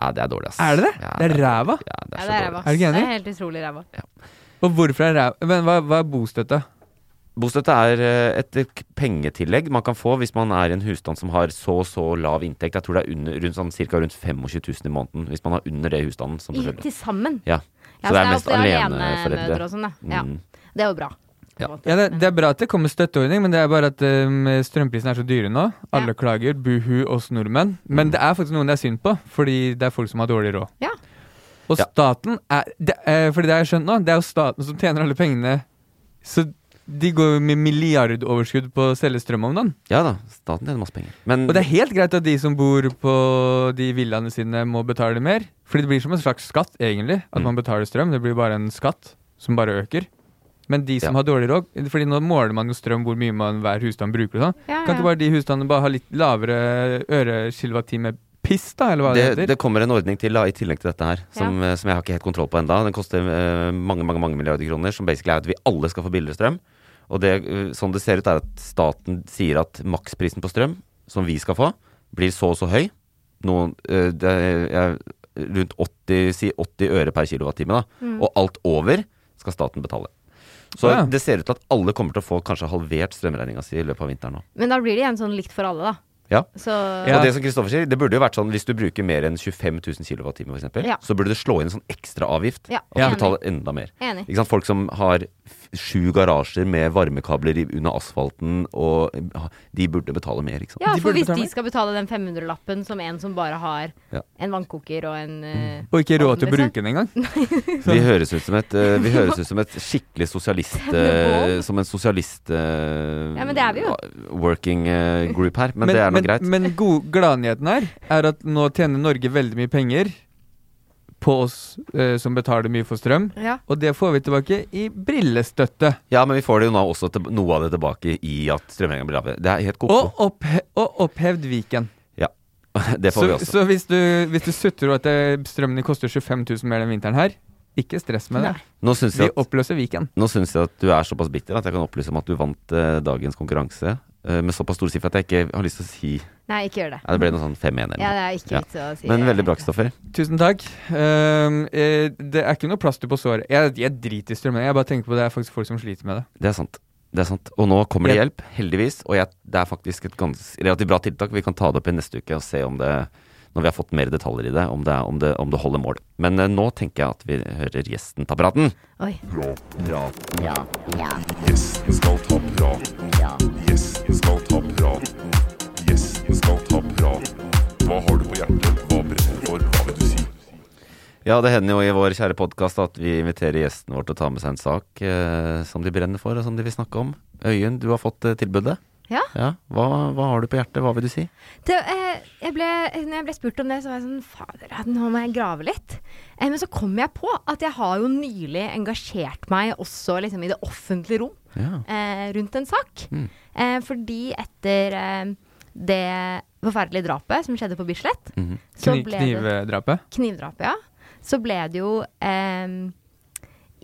Ja, det er dårlig, ass.
Er det det?
Ja,
det er
det er-
ræva?
det
Ja, det er ræva.
Er du ikke
Det
enig?
er helt utrolig ræva.
Og hvorfor er ræva Men hva, hva er bostøtte?
Bostøtte er eh, et k- pengetillegg man kan få hvis man er i en husstand som har så og så lav inntekt. Jeg tror det er under, rundt, sånn, cirka rundt 25 000 i måneden hvis man har under det i husstanden. Som
I,
selvfølgelig-
til sammen.
Ja.
Ja,
Så det er mest
ofte
aleneforeldre.
alenemødre og sånn, da.
Mm.
Ja. Det er jo bra.
Ja.
Ja, det, det er bra at det kommer støtteordning, men det er bare at um, strømprisene er så dyre nå. Alle klager, buhu oss nordmenn. Men det er faktisk noen det er synd på, fordi det er folk som har dårlig råd.
Ja.
Og staten er, det, eh, Fordi det har jeg skjønt nå, det er jo staten som tjener alle pengene. Så de går jo med milliardoverskudd på å selge strøm om dagen.
Ja da, staten tjener masse penger. Men,
Og det er helt greit at de som bor på de villaene sine, må betale mer. Fordi det blir som en slags skatt, egentlig. At
Mm.
man betaler strøm. Det blir bare en skatt som bare øker. Men de som har dårlig råd Fordi nå måler man jo strøm hvor mye man hver husstand bruker. og sånn
Ja, ja.
Kan ikke bare de husstandene bare ha litt lavere ørekilowattime piss, da? Eller hva det,
det,
heter?
det kommer en ordning til da, i tillegg til dette her, som, eh, som jeg har ikke helt kontroll på enda. Den koster eh, mange mange, mange milliarder kroner, som basically er at vi alle skal få billigere strøm. Og det, eh, sånn det ser ut, er at staten sier at maksprisen på strøm, som vi skal få, blir så og så høy. Noen, eh, det er rundt 80, si 80 øre per kilowattime, da.
Mm.
Og alt over skal staten betale. Så
Ja.
det ser ut til at alle kommer til å få kanskje halvert strømregninga si i løpet av vinteren nå.
Men da blir det igjen sånn likt for alle, da.
Ja.
Så-
Og det som Kristoffer sier, det burde jo vært sånn hvis du bruker mer enn 25 000 kWh, for eksempel,
Ja.
så burde du slå inn en sånn ekstraavgift.
Ja,
At
enig.
du betaler enda mer.
Enig.
Ikke sant? Folk som har f- sju garasjer med varmekabler i- under asfalten, og ja, de burde betale mer, ikke sant.
Ja, for hvis de skal betale den 500-lappen som en som bare har
Ja.
en vannkoker og en eh,
Og ikke råd til å
ovn, liksom.
bruke den engang.
Vi høres ut som et, eh, vi høres ut som et skikkelig sosialist eh, Som en sosialist eh,
Ja, men det er vi jo.
Working eh, group her, men, det er nå greit.
Men god, gladnyheten her er at nå tjener Norge veldig mye penger på oss eh, som betaler mye for strøm,
Ja.
og det får vi tilbake i brillestøtte.
Ja, men vi får det jo nå også til, noe av det tilbake i at strømregninga blir lavere. Det er helt koko.
Og, opphe og opphevd Viken.
Ja. Det får
så,
vi også.
Så hvis du, hvis du sutter over at eh, strømmen din koster 25 000 mer den vinteren her, ikke stress med det.
Nå syns
vi
jeg at-
oppløser Viken.
Nå syns jeg at du er såpass bitter at jeg kan opplyse om at du vant eh, dagens konkurranse eh, med såpass store sifre at jeg ikke har lyst til å si
Nei, ikke gjør det.
ja, Det ble noe sånn 5-1 eller
Ja,
noe.
det er ikke vits å si
Men
det.
veldig bra, Kristoffer.
Tusen takk. Ehm, eh, det er ikke noe plaster på såret. Jeg, jeg driter i strømmen. Jeg bare tenker på det er faktisk folk som sliter med det.
Det er sant. Det er sant. Og nå kommer det
Ja.
hjelp, heldigvis. Og jeg, det er faktisk et gans, relativt bra tiltak. Vi kan ta det opp i neste uke og se om det, når vi har fått mer detaljer i det, om det, er- om det, om det holder mål. Men eh, nå tenker jeg at vi hører gjesten ta praten.
Oi.
Ja, ja, ja.
Gjesten skal ta praten. Gjesten skal ta praten. Gjesten skal ta praten. Hva har du på hjertet? Hva brenner for? Hva vil du si?
Ja, det hender jo i vår kjære podkast at vi inviterer gjesten vår til å ta med seg en sak eh, som de brenner for, og som de vil snakke om. Øyunn, du har fått eh, tilbudet.
Ja.
Hva, hva har du på hjertet? Hva vil du si?
Det, eh, jeg ble, når jeg ble spurt om det, så var jeg sånn Fader, ja, nå må jeg grave litt. Eh, men så kom jeg på at jeg har jo nylig engasjert meg også liksom, i det offentlige rom
Ja.
eh, rundt en sak.
Mm.
Eh, fordi etter eh, det forferdelige drapet som skjedde på Bislett Så
Kni
ble det-
knivdrapet.
knivdrapet, ja, så ble det jo eh,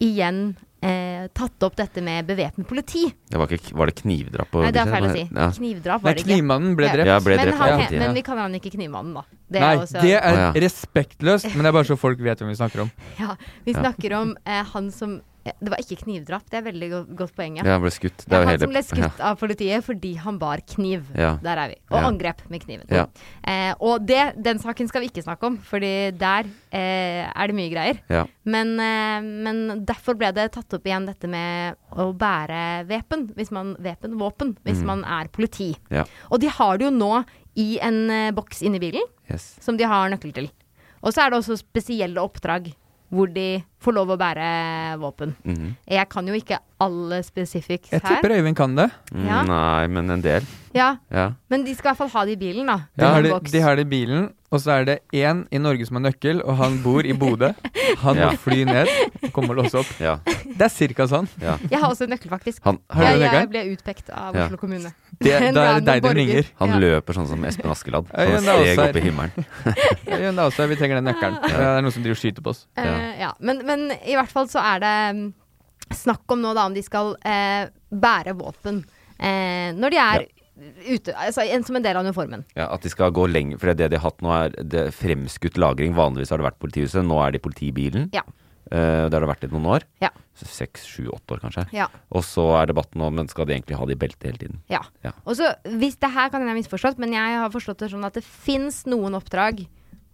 igjen eh, tatt opp dette med bevæpnet politi.
Det var, ikke, var det knivdrap? på
Nei, det er
Bislett?
feil å si.
Ja.
Knivdrap
Nei,
var det ikke.
knivmannen ble
Ja.
drept. Ja, ble
men,
drept
han,
av politiet, ja.
men vi kaller han ikke knivmannen, da. Det
Nei,
er også,
det er
Å, ja.
respektløst, men det er bare så folk vet hvem vi snakker om.
ja, Vi
Ja.
snakker om eh, han som eh, Ja, det var ikke knivdrap, det er veldig go godt poeng.
Ja, han ble skutt. Det er jo
han
hele-
som ble skutt
ja.
av politiet fordi han bar kniv.
Ja.
Der er vi. Og
Ja.
angrep med kniven.
Ja.
Eh, og det, den saken skal vi ikke snakke om, fordi der eh, er det mye greier.
Ja.
Men, eh, men derfor ble det tatt opp igjen dette med å bære vepen, hvis man, vepen, våpen, hvis
Mm.
man er politi.
Ja.
Og de har det jo nå i en eh, boks inni bilen,
Yes.
som de har nøkkel til. Og så er det også spesielle oppdrag hvor de får lov å bære våpen.
Mhm.
Jeg kan jo ikke alle specifics
Jeg tipper
her.
Øyvind kan det.
Mm,
Ja.
Nei, men en del.
Ja,
Ja.
Men de skal i hvert fall ha det i bilen, da.
De har det,
Boks.
de har det i bilen, og så er det én i Norge som har nøkkel, og han bor i Bodø. Han må
Ja.
fly ned og komme og låse opp.
Ja.
Det er cirka sånn.
Ja.
Jeg har også en nøkkel, faktisk.
Han- Har
jeg,
du
jeg
nøkkelen?
ble utpekt av
Ja.
Oslo kommune.
Det-
En
da er
random
det deg de
borger.
ringer.
Han
Ja.
løper sånn som Espen Askeladd. Han
Øyvind
steg
Dahlsberg.
opp i himmelen.
Ja, Jon Dahlstad, vi trenger den nøkkelen.
Ja.
Det er noen som driver og skyter på oss.
Eh, ja. Men, men i hvert fall så er det mm, snakk om nå da om de skal eh, bære våpen eh, når de er ute, altså en, som en del av uniformen.
Ja, At de skal gå lenger For det de har hatt nå, er det er fremskutt lagring. Vanligvis har det vært politihuset. Nå er det i politibilen.
Ja.
Eh, det har det vært i noen år.
Ja.
Seks, sju, åtte år, kanskje.
Ja.
Og så er debatten om men skal de egentlig ha det i beltet hele tiden.
Ja.
Ja.
Og så, hvis det her kan jeg ha misforstått, men jeg har forstått det sånn at det fins noen oppdrag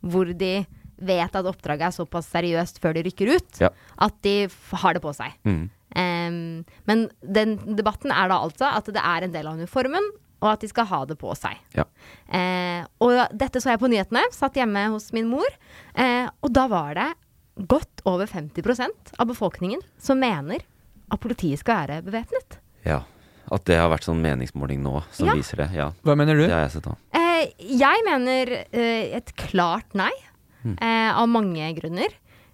hvor de vet at oppdraget er såpass seriøst før de rykker ut,
Ja.
at de f har det på seg.
Mm.
Em, men den debatten er da altså at det er en del av uniformen, og at de skal ha det på seg.
Ja.
Eh, og dette så jeg på nyhetene, satt hjemme hos min mor, eh, og da var det godt over 50 av befolkningen som mener at politiet skal være bevæpnet.
ja. At det har vært sånn meningsmåling nå som
Ja.
viser det. Ja.
Hva mener du?
Det har jeg sett òg.
Eh, jeg mener eh, et klart nei,
Mm.
eh, av mange grunner.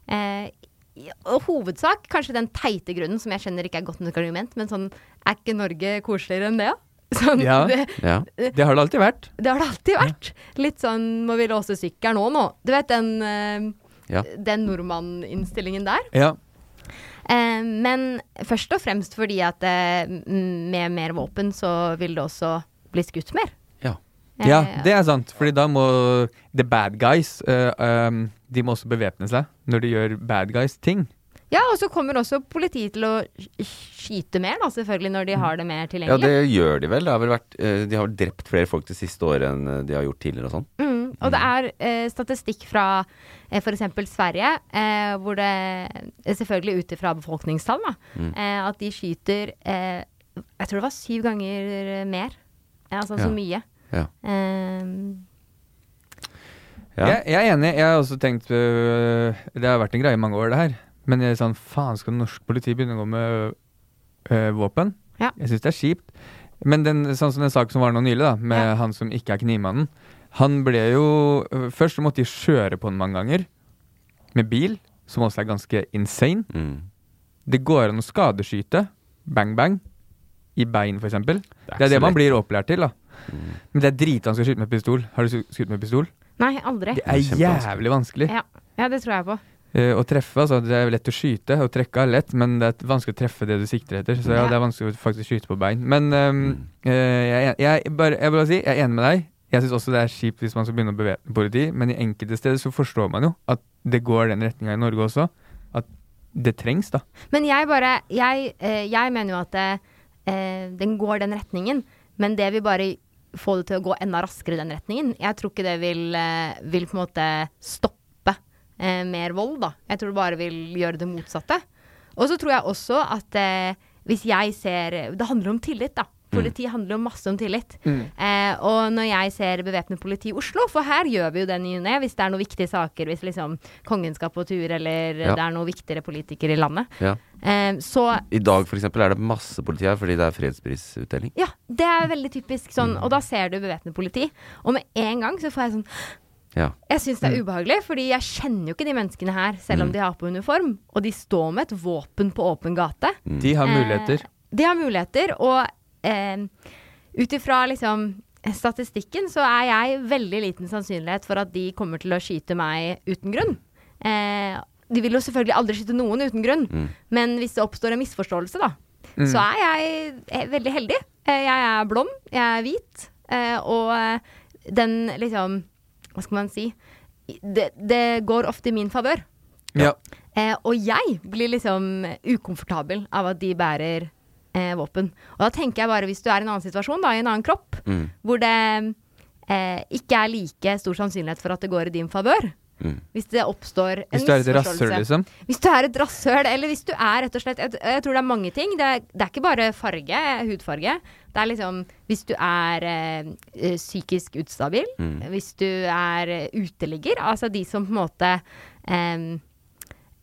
Eh, i- og hovedsak kanskje den teite grunnen, som jeg skjønner ikke er godt nok argument, men sånn er ikke Norge koseligere enn det? Sånn,
Ja.
det,
Ja.
Det har det alltid vært.
det har det alltid vært. Litt sånn må vi låse sykkelen òg nå. Du vet den, eh,
Ja.
den nordmanninnstillingen der.
Ja.
Eh, men først og fremst fordi at eh, m- med mer våpen så vil det også bli skutt mer.
Ja.
Eh,
ja, det er sant. Fordi da må the bad guys eh, um, De må også bevæpne seg når de gjør bad guys ting.
Ja, og så kommer også politiet til å sk- skyte mer, da, selvfølgelig, når de har det mer
Mm. ja,
tilgjengelig.
det gjør de vel. Det har vel vært, eh, de har vel drept flere folk det siste året enn eh, de har gjort tidligere og sånn.
Mm, og det er eh, statistikk fra eh, f.eks. Sverige, eh, hvor det eh, selvfølgelig ut ifra befolkningstall, da,
Mm.
eh, at de skyter eh, Jeg tror det var syv ganger eh, mer. Eh, Altså
Ja.
så mye.
Ja.
Eh,
Ja.
Jeg, jeg er enig. Jeg har også tenkt øh, Det har vært en greie i mange år, det her. Men jeg er sånn, faen, skal norsk politi begynne å gå med øh, våpen?
Ja.
Jeg syns det er kjipt. Men den, sånn som den saken som var nå nylig, da, med han som ikke er knivmannen Han ble jo øh, Først så måtte de kjøre på han mange ganger. Med bil, som også er ganske insane.
Mm.
Det går an å skadeskyte. Bang, bang. I bein, f.eks. Det er
er ikke
det,
så
man
lett.
blir opplært til. da
Mm.
Men det er drit han skal skyte med pistol. Har du skutt med pistol?
nei, aldri.
Det er
kjempevanskelig.
jævlig vanskelig
Ja. ja, det tror jeg på.
eh, å treffe. Altså, det er lett å skyte, og trekke er lett, men det er vanskelig å treffe det du sikter etter. Så ja,
Ja. Mm.
det er vanskelig å faktisk skyte på bein. Men ehm, eh, jeg, er en- jeg, bare, jeg vil bare si, jeg er enig med deg. Jeg syns også det er kjipt hvis man skal begynne å bevæpne politi, men i enkelte steder så forstår man jo at det går den retninga i Norge også. At det trengs, da.
Men jeg bare Jeg, eh, jeg mener jo at eh, eh, den går den retningen, men det vil bare få det til å gå enda raskere i den retningen. Jeg tror ikke det vil, eh, vil på en måte stoppe eh, mer vold, da. Jeg tror det bare vil gjøre det motsatte. Og så tror jeg også at eh, hvis jeg ser Det handler om tillit, da. Politi handler jo masse om tillit.
Mm.
Eh, og når jeg ser bevæpnet politi i Oslo, for her gjør vi jo det nye ned hvis det er noen viktige saker, hvis liksom kongen skal på tur, eller
Ja.
det er noen viktigere politikere i landet.
Ja.
Eh, så
I dag for eksempel er det masse politi her fordi det er fredsprisutdeling.
ja, det er veldig typisk sånn, og da ser du bevæpnet politi. Og med en gang så får jeg sånn
Ja.
Jeg syns det er ubehagelig, fordi jeg kjenner jo ikke de menneskene her, selv om de har på uniform. Og de står med et våpen på åpen gate.
Mm.
De har muligheter.
Eh, de har muligheter, og eh, ut ifra liksom statistikken så er jeg veldig liten sannsynlighet for at de kommer til å skyte meg uten grunn. Eh, de vil jo selvfølgelig aldri skyte noen uten grunn, men hvis det oppstår en misforståelse, da,
Mm.
så er jeg eh, veldig heldig. Eh, jeg er blond, jeg er hvit, eh, og eh, den liksom Hva skal man si? Det, det går ofte i min favør.
Ja.
Eh, og jeg blir liksom ukomfortabel av at de bærer eh, våpen. Og da tenker jeg bare, hvis du er i en annen situasjon, da, i en annen kropp,
Mm.
hvor det eh, ikke er like stor sannsynlighet for at det går i din favør,
Mm.
hvis det oppstår en
Hvis du er et
misforståelse.
rasshøl, liksom?
Hvis du er et rasshøl, eller hvis du er rett og slett Jeg, jeg tror det er mange ting. Det er, det er ikke bare farge, hudfarge. Det er liksom Hvis du er eh, eh, psykisk ustabil,
Mm.
hvis du er eh, uteligger, altså de som på en måte eh,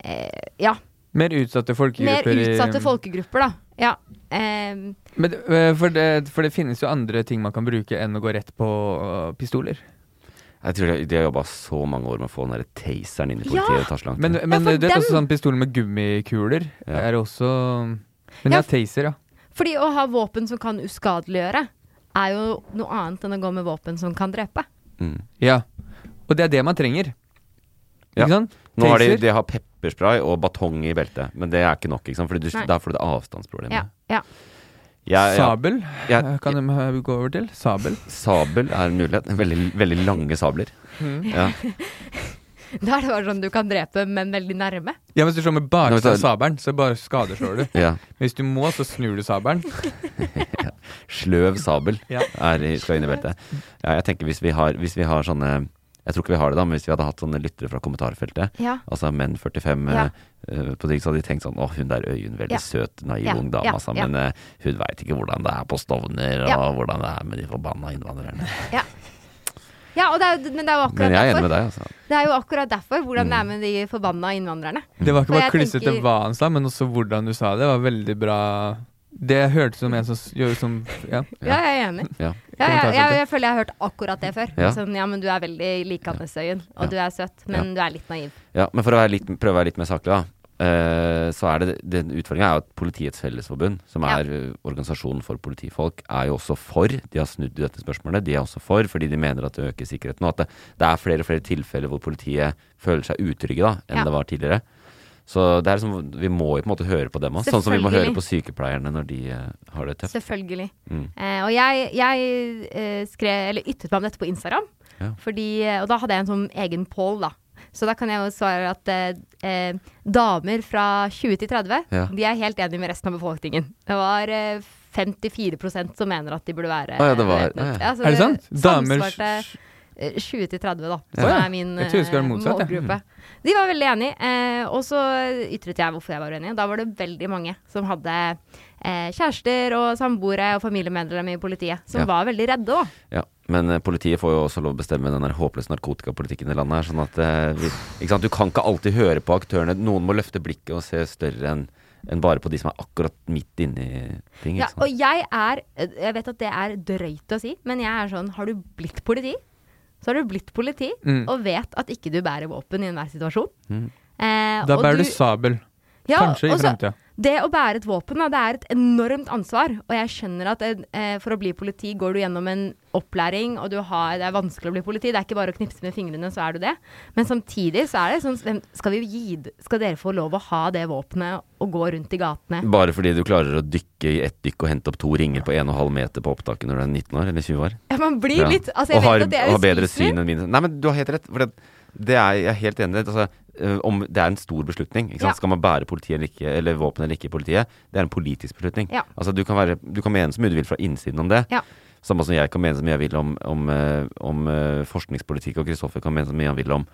eh, Ja.
Mer utsatte
Mer
folkegrupper. i-
utsatte folkegrupper, da. Ja. eh,
Men, eh, for, det, for det finnes jo andre ting man kan bruke enn å gå rett på eh, pistoler.
Jeg tror de, de har jobba så mange år med å få den derre taseren inn i
Ja!
politiet. Det tar så lang tid.
Men, men
for
du vet også
dem-
sånn pistoler med gummikuler er også Men
Ja,
ja, taser, ja.
fordi å ha våpen som kan uskadeliggjøre, er jo noe annet enn å gå med våpen som kan drepe.
Mm.
Ja. Og det er det man trenger.
Ja.
Ikke sant?
Nå har de,
Taser.
de har pepperspray og batong i beltet, men det er ikke nok. Ikke sant? Fordi du,
Nei.
der får du det avstandsproblemet.
Ja, ja.
Jeg- jeg-
Sabel
jeg-
eh, kan de eh, gå over til. Sabel.
Sabel er en mulighet. Veldig, veldig lange sabler.
Mm.
Ja.
Da er det bare sånn du kan drepe, men veldig nærme.
Ja, Hvis du slår med
Nå,
baksiden
hvis du-
av sabelen, så bare skadeslår du.
Ja.
Men hvis du må, så snur du sabelen.
Sløv sabel
Ja.
er, i- skal inn i beltet. Ja, jeg tenker hvis vi, har, hvis vi har sånne Jeg tror ikke vi har det, da, men hvis vi hadde hatt sånne lyttere fra kommentarfeltet,
Ja.
altså menn 45 eh,
Ja.
eh, på ting, så hadde de tenkt sånn Å, hun der Øyunn, veldig
Ja.
søt, naiv
Ja,
ung dame,
ja,
altså,
ja.
men eh, hun veit ikke hvordan det er på Stovner, og
Ja.
hvordan det er med de forbanna innvandrerne.
Ja, ja og det er, jo- men det er jo akkurat
Men jeg er enig
derfor.
med deg, Mm. altså.
Det er jo akkurat derfor hvordan det er med de forbanna innvandrerne.
Det var ikke
Og jeg
bare klissete
tenker-
hva han sa, men også hvordan du sa det. var veldig bra Det hørtes ut som en som s- gjør som Ja.
Ja, jeg er enig.
Ja.
Ja, jeg, jeg,
Kommentarfeltet.
jeg føler jeg har hørt akkurat det før.
Ja.
Sånn, ja, men du er veldig likende, Søyen. Og du er søt, men du er litt naiv.
Ja, men for å være litt, prøve å være litt mer saklig, da. eh, så er det den utfordringa er jo at Politiets Fellesforbund, som er eh, organisasjonen for politifolk, er jo også for. De har snudd i dette spørsmålet. De er også for fordi de mener at det øker sikkerheten. Og at det, det er flere og flere tilfeller hvor politiet føler seg utrygge da enn
Ja.
det var tidligere. Så det er liksom, vi må jo på en måte høre på dem òg. Sånn som vi må
Selvfølgelig.
høre på sykepleierne når de eh, har det tøft.
Selvfølgelig.
Mm.
Eh, og jeg, jeg eh, skrev, eller ytret meg om dette på Instagram.
Ja.
Fordi, eh, og da hadde jeg en sånn egen poll, da. Så da kan jeg jo svare at eh, eh, damer fra 20 til 30
Ja.
de er helt enige med resten av befolkningen. Det var eh, 54 som mener at de burde være
Å ja, det var-
væpnet.
ja, ja.
Altså,
Er det sant? Damer-
Samsvarte eh, 20 til 30, da.
Ja.
Som
Å ja.
er min
Jeg tror jeg skulle
eh,
være motsatt, jeg.
målgruppe. De var veldig enige. Eh, og så ytret jeg hvorfor jeg var uenig. Da var det veldig mange som hadde eh, kjærester og samboere og familiemedlemmer i politiet, som
Ja.
var veldig redde òg.
Ja, Men eh, politiet får jo også lov å bestemme den der håpløse narkotikapolitikken i landet her. Sånn at eh, vi, ikke sant? Du kan ikke alltid høre på aktørene. Noen må løfte blikket og se større enn enn bare på de som er akkurat midt inni ting.
Ja,
Ikke sant?
og jeg er Jeg vet at det er drøyt å si, men jeg er sånn Har du blitt politi, så har du blitt politi,
Mm.
og vet at ikke du bærer våpen i enhver situasjon.
Mm.
Eh,
Da
og
bærer du sabel.
Ja,
Kanskje i
og så-
fremtida.
Det å bære et våpen, da, det er et enormt ansvar. Og jeg skjønner at eh, for å bli politi går du gjennom en opplæring, og du har, det er vanskelig å bli politi. Det er ikke bare å knipse med fingrene, så er du det. Men samtidig så er det sånn hvem- Skal, vi gi, skal dere få lov å ha det våpenet og gå rundt i gatene?
Bare fordi du klarer å dykke i ett dykk og hente opp to ringer på 1,5 meter på opptaket når du er 19 år eller 20 år.
Ja, man blir
Ja.
litt Altså, jeg
og har,
vet at det er
og har bedre
uspiselig.
syn enn mine. Nei, men du har helt rett. For det, det er, jeg er helt enig i det. Altså, eh, om, det er en stor beslutning. Ikke sant?
Ja.
Skal man bære politiet eller ikke, eller våpen eller ikke i politiet? Det er en politisk beslutning.
Ja.
Altså, du, kan være, du kan mene så mye du vil fra innsiden om det.
Ja.
Samme som jeg kan mene så mye jeg vil om, om, eh, om eh, forskningspolitikk, og Kristoffer kan mene så mye han vil om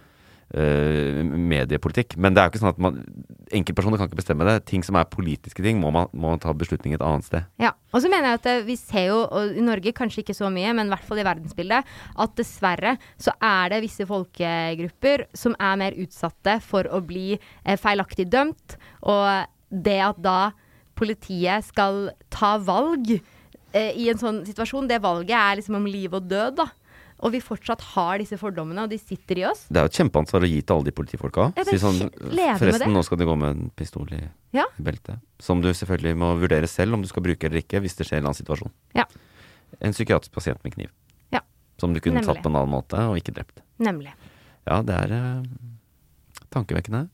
eh, mediepolitikk. Men det er jo ikke sånn at man, enkeltpersoner kan ikke bestemme det. Ting som er politiske ting, må man, må man ta beslutning et annet sted.
Ja, og så mener jeg at eh, vi ser jo, og i Norge kanskje ikke så mye, men i hvert fall i verdensbildet, at dessverre så er det visse folkegrupper som er mer utsatte for å bli eh, feilaktig dømt, og det at da politiet skal ta valg eh, i en sånn situasjon, det valget er liksom om liv og død, da. Og vi fortsatt har disse fordommene, og de sitter i oss.
Det er jo et kjempeansvar å gi til alle de politifolka.
Ja, det er
Si sånn,
helt- leve med
forresten,
det.
nå skal du gå med en pistol i
Ja.
i beltet. Som du selvfølgelig må vurdere selv om du skal bruke eller ikke, hvis det skjer en eller annen situasjon.
Ja.
En psykiatrisk pasient med kniv.
Ja.
Som du kunne
Nemlig.
tatt på en annen måte og ikke drept.
Nemlig.
Ja, det er eh, tankevekkende.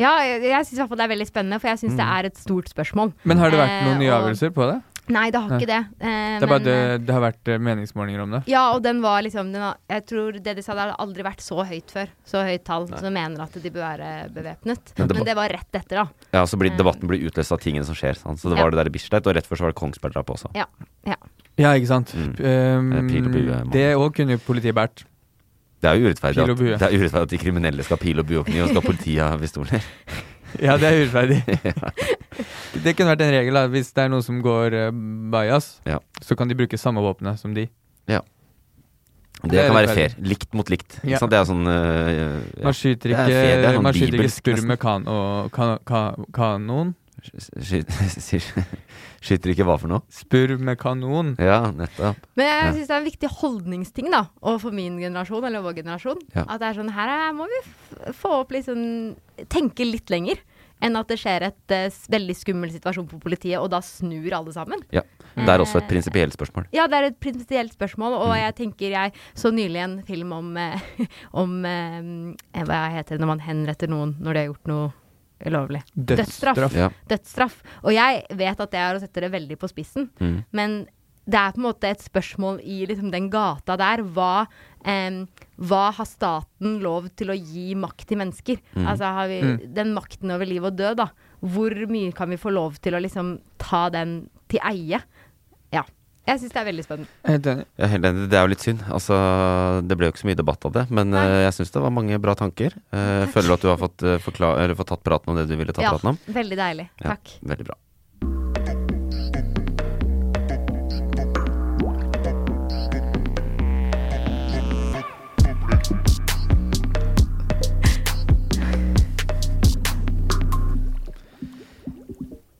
Ja, jeg, jeg syns i hvert fall det er veldig spennende, for jeg syns det
Mm.
er et stort spørsmål.
Men har det vært noen
Eh,
nye
og-
avgjørelser på det?
Nei, det har
Nei.
ikke det. Eh,
Det er
men,
bare det,
eh,
det har vært eh, meningsmålinger om det.
Ja, og den var liksom den var, Jeg tror det de sa, det hadde aldri vært så høyt før. Så høyt tall. Så mener at de bør være bevæpnet.
Men
Men
det
det, var
var-
rett etter, da.
Ja, så blir
Eh.
debatten blir utløst av tingene som skjer. Sant? Så det
Ja.
var det der i Bislett, og rett før så var det Kongsberg-drapet også.
Ja. ja.
Ja, ikke sant.
Eh, pil og bue,
Um,
mann.
det òg kunne jo politiet båret.
Det er jo urettferdig,
Pil og
at,
bue.
det er urettferdig at de kriminelle skal ha pil og bue og kniv, og så skal politiet ha pistoler.
Ja, det er urettferdig.
Ja.
Det kunne vært en regel. da Hvis det er noen som går uh, bajas,
Ja.
så kan de bruke samme våpenet som de.
Ja. Det,
Det er
kan være
rettferdig.
fair. Likt mot likt. Ikke
Ja.
sant? Det er sånn eh, ja.
Man skyter
Det er
ikke,
fair, det er sånn
man skyter ikke
bibelsk
spurv
nesten.
med kan og kan, ka- kanon.
Skyter, sier- skyter ikke hva for noe?
Spurv med kanon.
Ja, nettopp.
Men jeg
Ja.
synes syns det er en viktig holdningsting da, overfor min generasjon, eller vår generasjon.
Ja.
At det er sånn her eh, må vi f få opp litt sånn Tenke litt lenger. Enn at det skjer et eh, s- veldig skummel situasjon på politiet, og da snur alle sammen.
Ja. Det er også et prinsipielt spørsmål.
Ja, det er et prinsipielt spørsmål,
Mm.
og jeg tenker jeg så nylig en film om, eh, om eh, Hva heter det når man henretter noen når de har gjort noe ulovlig?
Dødsstraff. Ja.
Dødsstraff. Og jeg vet at det er å sette det veldig på spissen,
Mm.
men det er på en måte et spørsmål i liksom den gata der. Hva, eh, hva har staten lov til å gi makt til mennesker?
Mm.
Altså har vi
Mm.
den makten over liv og død, da. Hvor mye kan vi få lov til å liksom ta den til eie? Ja. Jeg syns det er veldig spennende.
Helt enig.
Jeg er helt enig, det er jo litt synd. Altså, det ble jo ikke så mye debatt av det, men eh, jeg syns det var mange bra tanker. Eh, føler du at du har fått, eh, forkla- eller fått tatt praten om det du ville ta praten om?
veldig deilig.
Ja,
Takk.
veldig bra.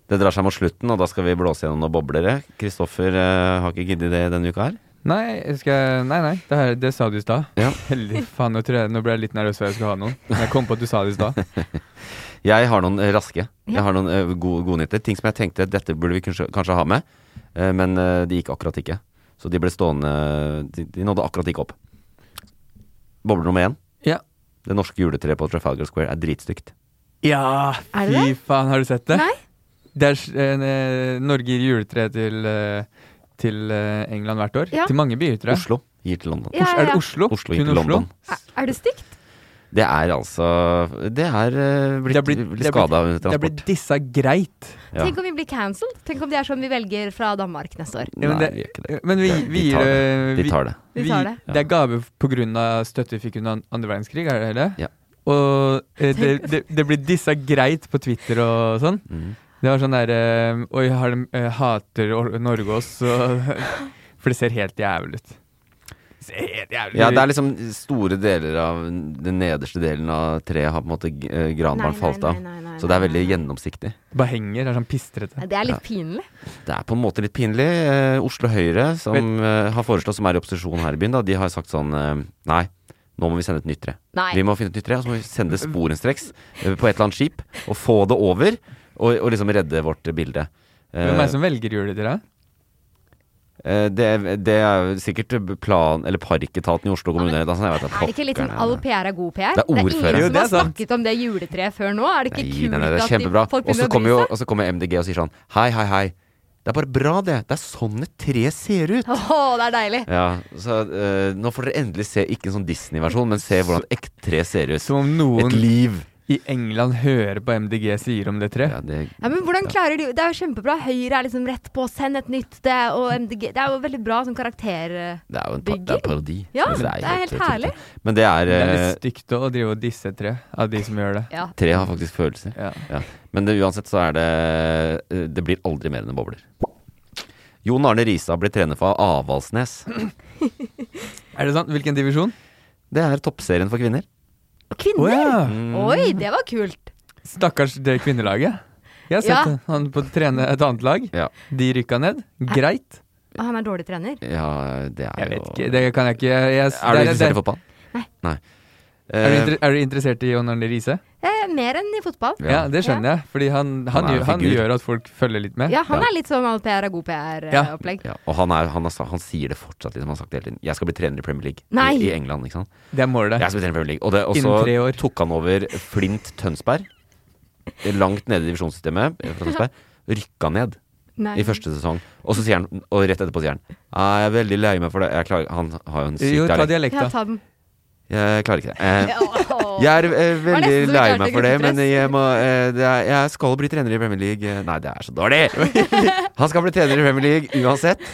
Det drar seg mot slutten, og da skal vi blåse gjennom noen boblere. Kristoffer eh, har ikke giddet det denne uka her.
Nei, jeg skal, nei, nei det, her, det sa du i stad.
Ja.
Heldig faen, nå, tror jeg, nå ble jeg litt nervøs for jeg skulle ha noen. Men jeg kom på at du sa det i stad.
Jeg har noen eh, raske.
Ja.
Jeg har noen eh, gode godnyheter. Ting som jeg tenkte dette burde vi kanskje, kanskje ha med, eh, men eh, de gikk akkurat ikke. Så de ble stående De, de nådde akkurat ikke opp. Boble nummer én.
Ja.
Det norske juletreet på Trafalgar Square er dritstygt.
Ja,
Er det
fy faen, har du sett det?
Nei.
Det er s- en, eh, Norge gir juletre til, eh, til eh, England hvert år.
Ja.
Til mange byer, tror jeg.
Oslo gir til London.
Ja, ja,
Er det
ja.
Oslo?
Oslo gir
Kun
til London.
Er det stygt?
Det er altså Det er eh, blitt,
blitt-
blitt,
det er blitt-
skada under
det er
transport.
blitt dissa greit.
Ja.
Tenk om vi blir cancelled? Tenk om det er sånn vi velger fra Danmark neste år?
Ja, men
Nei,
det-
vi gjør ikke det.
Men vi,
Det-
vi
de
gir
tar det.
eh,
De
vi-
tar
De tar
det.
det.
Det er gave pga. støtte vi fikk under an- andre verdenskrig, er det det?
Ja.
Og eh, det, det, det blir dissa greit på Twitter og sånn.
Mm.
Det var sånn derre Oi, har de, eh, hater Or- Norge oss? Og, for det ser helt jævlig ut. Det ser helt jævlig
Ja, det er liksom store deler av Den nederste delen av treet har på en måte g- eh, granbarn
Nei, nei,
falt av.
nei, nei, nei,
Så det er veldig gjennomsiktig.
Bare henger, det er sånn pistrete.
Det er litt pinlig.
Det er på en måte litt pinlig. Eh, Oslo Høyre, som eh, har foreslått, som er i opposisjon her i byen, da, de har sagt sånn eh, Nei, nå må vi sende et nytt tre.
Nei.
Vi må finne et nytt tre, og så må vi sende det sporenstreks eh, på et eller annet skip. Og få det over, og, og liksom redde vårt eh, bilde. Eh,
Hvem er det som velger juletre?
eh, det, det er jo sikkert plan... Eller parketaten i Oslo kommune. eller noe sånt, jeg vet da
Er det ikke litt sånn
pokkerne.
all PR er god PR?
Det er ordfører. Jo,
ingen som
det er
har
sant.
snakket om det juletreet før nå? Er det ikke
Nei,
kult
nei, nei, det er
at de,
kjempebra.
folk
Og så
begynner å
kommer
bry
jo
seg?
og så kommer MDG og sier sånn Hei, hei, hei. Det er bare bra, det. Det er sånn et tre ser ut.
Åh, det er deilig!
Ja, så eh, nå får dere endelig se, ikke en sånn Disney-versjon, men se hvordan et ekte tre ser ut.
Som om noen
Et liv.
i England hører på MDG sier om det tre.
Ja, det,
Ja, men hvordan klarer de Det er jo kjempebra. Høyre er liksom rett på, send et nytt. Det er, og MDG, det er jo veldig bra sånn karakter...
det er jo en, pa det er en parodi.
Ja,
Altså,
det er helt
tullete.
herlig.
Men det er
Det er
eh,
litt stygt å drive og disse et tre av de som gjør det.
Ja.
Tre har faktisk følelser. Ja. Men det, uansett så er det eh, Det blir aldri mer enn bobler. Jon Arne Risa blir trener for Avaldsnes.
Er det sant? Hvilken divisjon?
Det er toppserien for kvinner.
Kvinner!
Åja.
Oi, det var kult.
Stakkars det kvinnelaget. Jeg har sett
Ja.
han på å trene et annet lag. De rykka ned. Greit.
Å, Han er dårlig trener.
Ja, det er
Jeg vet
jo
ikke, det kan jeg ikke jeg, jeg,
Er du
det
interessert i
det-
fotball? Nei. Nei.
Er du,
Eh,
inter, er du interessert i John Arne Riise?
Eh, mer enn i fotball.
Ja. det skjønner jeg. Fordi han, han,
Han er en
gjør, han
figur.
gjør at folk følger litt med.
Ja, han er litt sånn all PR er god PR-opplegg.
Ja, og han, er, han, har, sa- han sier det fortsatt, liksom. Han har sagt det hele tiden. Jeg skal bli trener i Premier League
Nei.
I, i England. ikke sant?
Det er målet.
Jeg skal bli trener i Premier League. Og, det, og
Innen tre
så tok han over Flint Tønsberg. Langt nede i divisjonssystemet. eh, fra Tønsberg. Rykka ned.
Nei.
I første sesong. Og så sier han, og rett etterpå sier han ah, 'Jeg er veldig lei meg for det'. Jeg klarer, han har jo en syk
Jo, ta
dialekt.
dialekt,
Ja,
da.
ta den.
Jeg klarer ikke det. Eh,
Åh.
jeg er eh,
var
veldig
nesten så vi
lei
klarte
meg
å
for det,
kutte
men
stress.
jeg, må, eh, det er, jeg skal bli trener i Premier League. Eh, Nei, det er så dårlig! Han skal bli trener i Premier League uansett.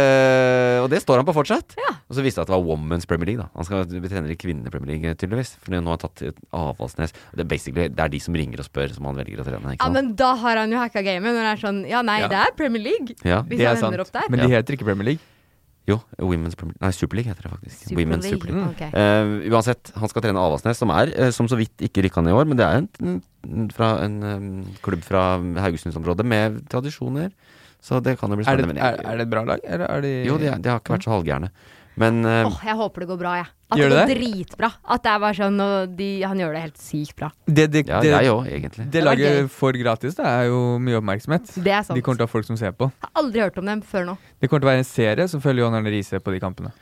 Eh, og det står han på fortsatt. Og så viste det at det var Women's Premier League. da Han skal bli trener i Kvinne Premier League, eh, tydeligvis. For nå har han tatt et Avaldsnes. Det er basically det er de som ringer og spør, som han velger å trene.
Ja,
Ikke sant?
men da har han jo hacka gamet når det er sånn Ja, nei,
Ja.
det er Premier League.
Ja,
Hvis
det
han
er
ender opp der.
Men de heter ikke Premier League.
Jo, Women's Premier Nei, Super League heter det faktisk.
Super
Women's
League,
Super League.
ok.
Eh, uansett, han skal trene Avaldsnes, som er, eh, som så vidt ikke rykka ned i år, men det er en, en- fra en em, klubb fra Haugesundsområdet med tradisjoner. Så det kan jo bli
Er det,
spennende. men
er,
jeg-
er det et bra lag? Eller er de
jo, de, er- de har ikke vært så halvgærne. Men eh,
Åh, jeg håper det går bra, jeg. At
Gjør
det går
det?
dritbra. At det er bare sånn og de, Han gjør det helt sykt bra.
Det, det,
Ja,
det-
jeg òg, egentlig.
Det
Det var gøy.
laget får gratis, det er jo mye oppmerksomhet.
Det er sant.
De kommer til å ha folk som ser på.
Jeg har aldri hørt om dem før nå.
Det kommer til å være en serie som følger John Arne Riise på de kampene.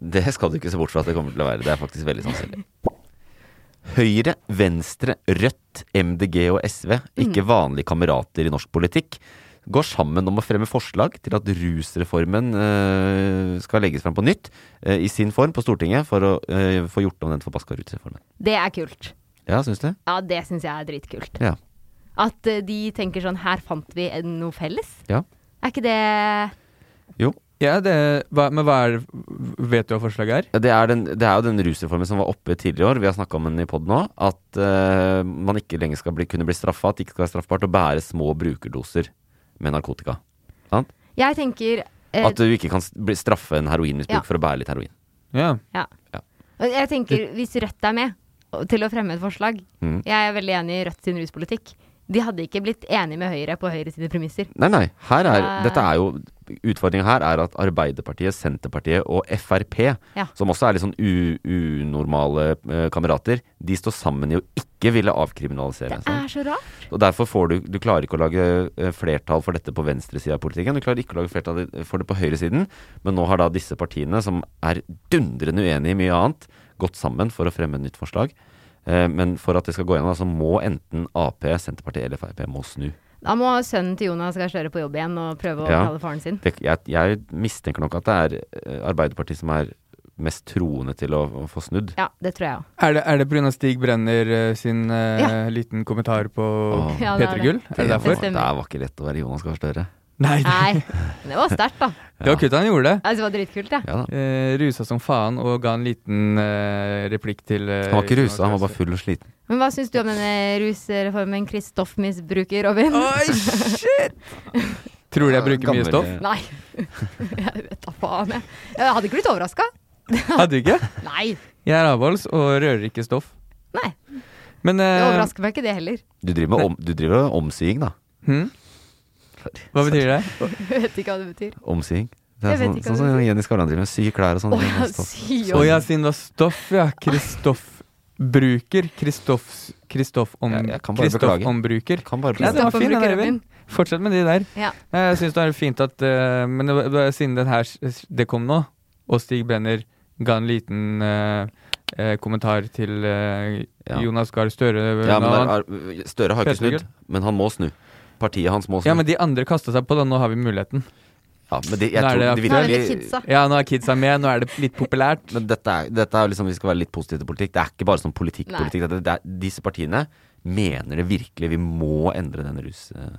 det skal du ikke se bort fra at det kommer til å være. Det er faktisk veldig sannsynlig. Høyre, Venstre, Rødt, MDG og SV, ikke vanlige kamerater i norsk politikk, går sammen om å fremme forslag til at rusreformen eh, skal legges fram på nytt eh, i sin form på Stortinget for å eh, få gjort om den forbaska rusreformen.
Det er kult.
Ja, syns du?
Ja, det syns jeg er dritkult.
Ja.
At eh, de tenker sånn Her fant vi en- noe felles.
Ja.
Er ikke det
Jo.
Ja, det, hva, men hva er Vet du hva forslaget er?
Det er, den, det er jo den rusreformen som var oppe tidligere i år, vi har snakka om den i pod nå, at eh, man ikke lenger skal bli, kunne bli straffa, at det ikke skal være straffbart å bære små brukerdoser med narkotika. Sant?
Jeg tenker eh,
At du ikke kan s- bli- straffe en heroinmisbruk
Ja.
for å bære litt heroin.
Ja.
Ja. Og Jeg tenker, hvis Rødt er med og- til å fremme et forslag
Mhm.
Jeg er veldig enig i Rødt sin ruspolitikk. De hadde ikke blitt enige med Høyre på Høyre sine premisser.
Nei, nei. Her er,
Eh.
dette er jo Utfordringa her er at Arbeiderpartiet, Senterpartiet og Frp,
Ja.
som også er litt sånn u, unormale eh, kamerater, de står sammen i å ikke ville avkriminalisere.
Det
sånn. sant?
er så rart.
Og derfor får du Du klarer ikke å lage eh, flertall for dette på venstresida av politikken. Du klarer ikke å lage flertall for det på høyresiden. Men nå har da disse partiene, som er dundrende uenige i mye annet, gått sammen for å fremme et nytt forslag. Eh, Men for at det skal gå gjennom, da, så må enten Ap, Senterpartiet eller Frp må snu.
Da må sønnen til Jonas Gahr Støre på jobb igjen og prøve å
Ja.
kalle faren sin.
Det, jeg, jeg mistenker nok at det er eh, Arbeiderpartiet som er mest troende til å, å få snudd.
Ja, det tror jeg òg.
Er det, er det pga. Stig Brenner eh, sin eh,
Ja.
liten kommentar på
Åh.
Ja, det er
P3 Gull?
det.
Er
Det
det derfor?
stemmer.
Det var ikke lett å være Jonas Gahr Støre.
Nei. Det,
Nei, men det var sterkt, da.
det var kutt han gjorde det.
Jeg synes det var dritkult, jeg.
Ja da.
Eh, rusa som faen og ga en liten eh, replikk til eh,
Han var ikke
Jonas
rusa, han var
Gahr
bare full og sliten.
Men hva syns du om denne rusreformen Kristoff-misbruker, Robin?
Støre. Tror du jeg bruker
Gammel,
mye stoff?
eh,
Nei. Jeg vet da faen, jeg. Jeg hadde ikke blitt overraska.
Hadde du ikke?
Nei.
Jeg er avholds og rører ikke stoff.
Nei.
Men
Det
eh,
overrasker meg ikke, det heller.
Du driver med, om, du driver med omsying, da.
hm? Hva betyr det?
Jeg vet ikke hva det betyr.
Omsying. Det
Jeg
er
vet
sånn,
ikke hva
sånn
det
som Jenny Skavlan driver med. Sy klær og sånn.
Å,
Det er
ja,
stoff.
sy
Å ja, siden det var stoff, ja. Kristoff bruker. Kristoffs Kristoff om,
Jeg- jeg kan bare
Kristoff
beklage.
ombruker.
Kan bare
Ja,
bli
det var
Kristoff
fin, den
ombruker,
Eivind. Fortsett med de der.
Ja.
Nei, Jeg syns det er fint at eh, Men det, var- det, var siden den her s- det kom nå, og Stig Brenner ga en liten eh, eh, kommentar til eh,
Ja.
Jonas Gahr Støre
ja, men
nå,
der er, Støre har ikke
Petter
snudd, men han må snu. Partiet hans må snu.
ja, men de andre kasta seg på, da. Nå har vi muligheten.
Ja, men de, jeg
Nå er
tror
det
Nå
de
er det litt
virkelig-
kidsa.
Ja, nå er kidsa med, nå er det litt populært.
Men dette er, dette er liksom, vi skal være litt positive til politikk. Det er ikke bare sånn politikk-politikk. Dette- det er- Disse partiene mener det virkelig. Vi må endre den rus... eh,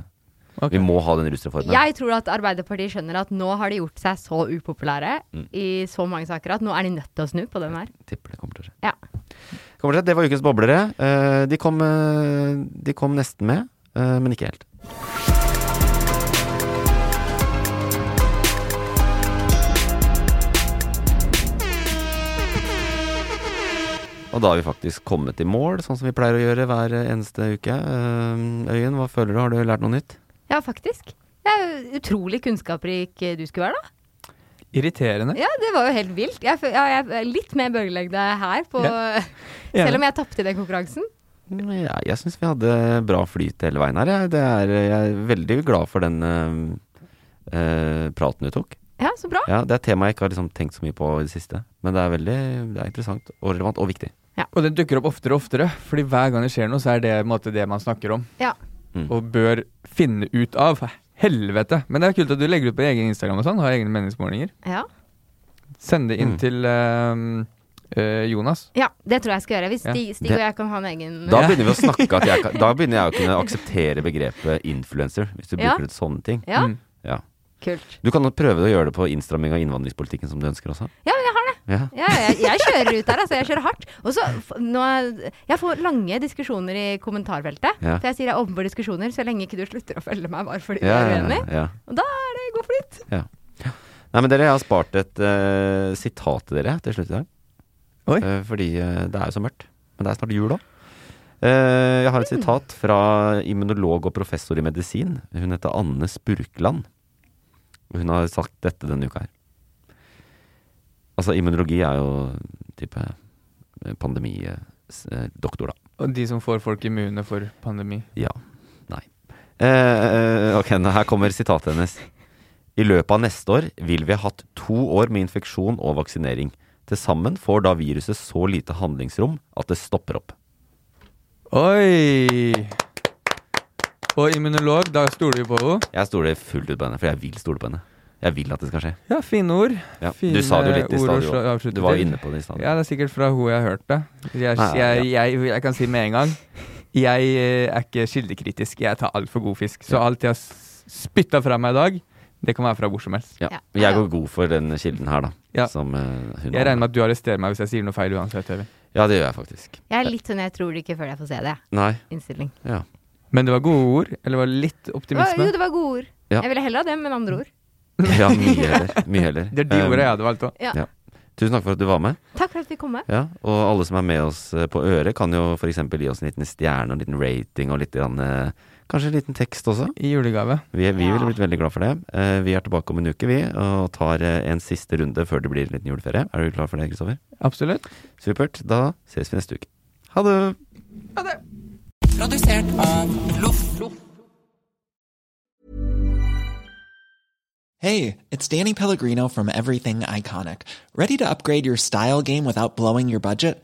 Ok.
Vi må ha den rusreformen.
Jeg tror at Arbeiderpartiet skjønner at nå har de gjort seg så upopulære i så mange saker at nå er de nødt til å snu på den her.
Tipper det kommer til å skje.
Ja.
Kommer til å skje. Det var ukens boblere. Eh, De kom, eh, de kom nesten med, eh, men ikke helt. Og da har vi faktisk kommet i mål, sånn som vi pleier å gjøre hver eneste uke. Eh, Øyen, hva føler du? Har du lært noe nytt?
ja, faktisk. Det er jo utrolig kunnskapsrik eh, du skulle være, da.
Irriterende.
Ja, det var jo helt vilt. Jeg, fø- ja, jeg er litt mer bølgelengde her, på,
Ja.
selv om jeg tapte i den konkurransen.
Nei, Jeg, jeg syns vi hadde bra flyt hele veien her. Jeg, det er, jeg er veldig glad for den eh, eh, praten du tok.
Ja, så bra.
Ja, Det er et tema jeg ikke har liksom tenkt så mye på i det siste. Men det er veldig det er interessant og relevant og viktig.
Og den dukker opp oftere og oftere, fordi hver gang det skjer noe, så er det på en måte det man snakker om.
Ja.
Mm.
Og bør finne ut av. helvete! Men det er kult at du legger ut på egen Instagram og sånn. Har egne meningsmålinger.
Ja.
Send det inn til ehm, eh, Jonas.
ja, det tror jeg skal gjøre. Hvis
Ja.
Stig, Stig
Det-
og jeg kan ha en egen
Da begynner vi å snakke at jeg kan, Da begynner jeg å kunne akseptere begrepet influencer, hvis du
Ja.
bruker det til sånne ting.
Ja. Mm.
Ja.
Kult.
Du kan prøve å gjøre det på innstramming av innvandringspolitikken som du ønsker også.
Ja, jeg har det.
Ja.
Ja, jeg, jeg kjører ut der, altså. Jeg kjører hardt. Og så f- nå Jeg får lange diskusjoner i kommentarfeltet.
Ja.
For jeg sier jeg er åpen for diskusjoner så lenge ikke du slutter å følge meg bare fordi du
Ja,
er
ja,
uenig.
ja.
Og da er det god flyt.
Ja. Nei, men dere, jeg har spart et eh, sitat til dere til slutt i dag. Eh, fordi eh, det er jo så mørkt. Men det er snart jul òg. jeg har et sitat fra immunolog og professor i medisin. Hun heter Anne Spurkland. Hun har sagt dette denne uka her. Altså, immunologi er jo type eh, pandemidoktor, eh, da.
Og de som får folk immune for pandemi.
Ja. Nei. Eh, eh, ok, nå her kommer sitatet hennes. I løpet av neste år vil vi ha hatt to år med infeksjon og vaksinering. Til sammen får da viruset så lite handlingsrom at det stopper opp.
Oi! Og immunolog, da stoler vi på henne.
Jeg stoler fullt ut på henne, for jeg vil stole på henne. Jeg vil at det skal skje.
Ja, fine ord.
Ja, du
Fine
sa det jo litt i
ord å
stad, du
slå-
også.
avslutte
Du var jo
til.
inne på det i stad.
Ja, det er sikkert fra hun jeg har hørt det. Jeg,
Nei,
jeg, jeg, jeg kan si med en gang Jeg eh, er ikke kildekritisk. Jeg tar altfor god fisk. Så alt jeg har spytta fra meg i dag, det kan være fra hvor som helst.
Ja. Jeg går god for den kilden her, da.
Ja.
Som eh, hun
Jeg regner med at du arresterer meg hvis jeg sier noe feil uansett, Øyvind.
Ja, det gjør jeg faktisk.
Jeg er litt sånn jeg tror det ikke før jeg får se det.
Nei.
Innstilling.
Ja.
Men det var gode ord? Eller det var litt
Å,
optimisme?
Jo, det var gode ord.
Ja.
Jeg ville heller ha det, men andre ord.
Ja, mye heller. Mye heller.
Det er de
Eh,
ordene jeg hadde valgt også.
Ja.
Tusen takk for at du var med.
Takk for at vi kom med.
Ja, og alle som er med oss eh, på øret, kan jo f.eks. gi oss en liten stjerne og en liten rating og litt grann, eh, kanskje en liten tekst også.
I julegave.
Vi, vi ville blitt veldig glad for det. Eh, Vi er tilbake om en uke, vi, og tar eh, en siste runde før det blir en liten juleferie. Er du klar for det, Kristoffer?
Absolutt.
Supert. Da ses vi neste uke. Ha det!
Produsert av Loff.
Hey, it's Danny Pellegrino from Everything Iconic. Ready to upgrade your style game without blowing your budget?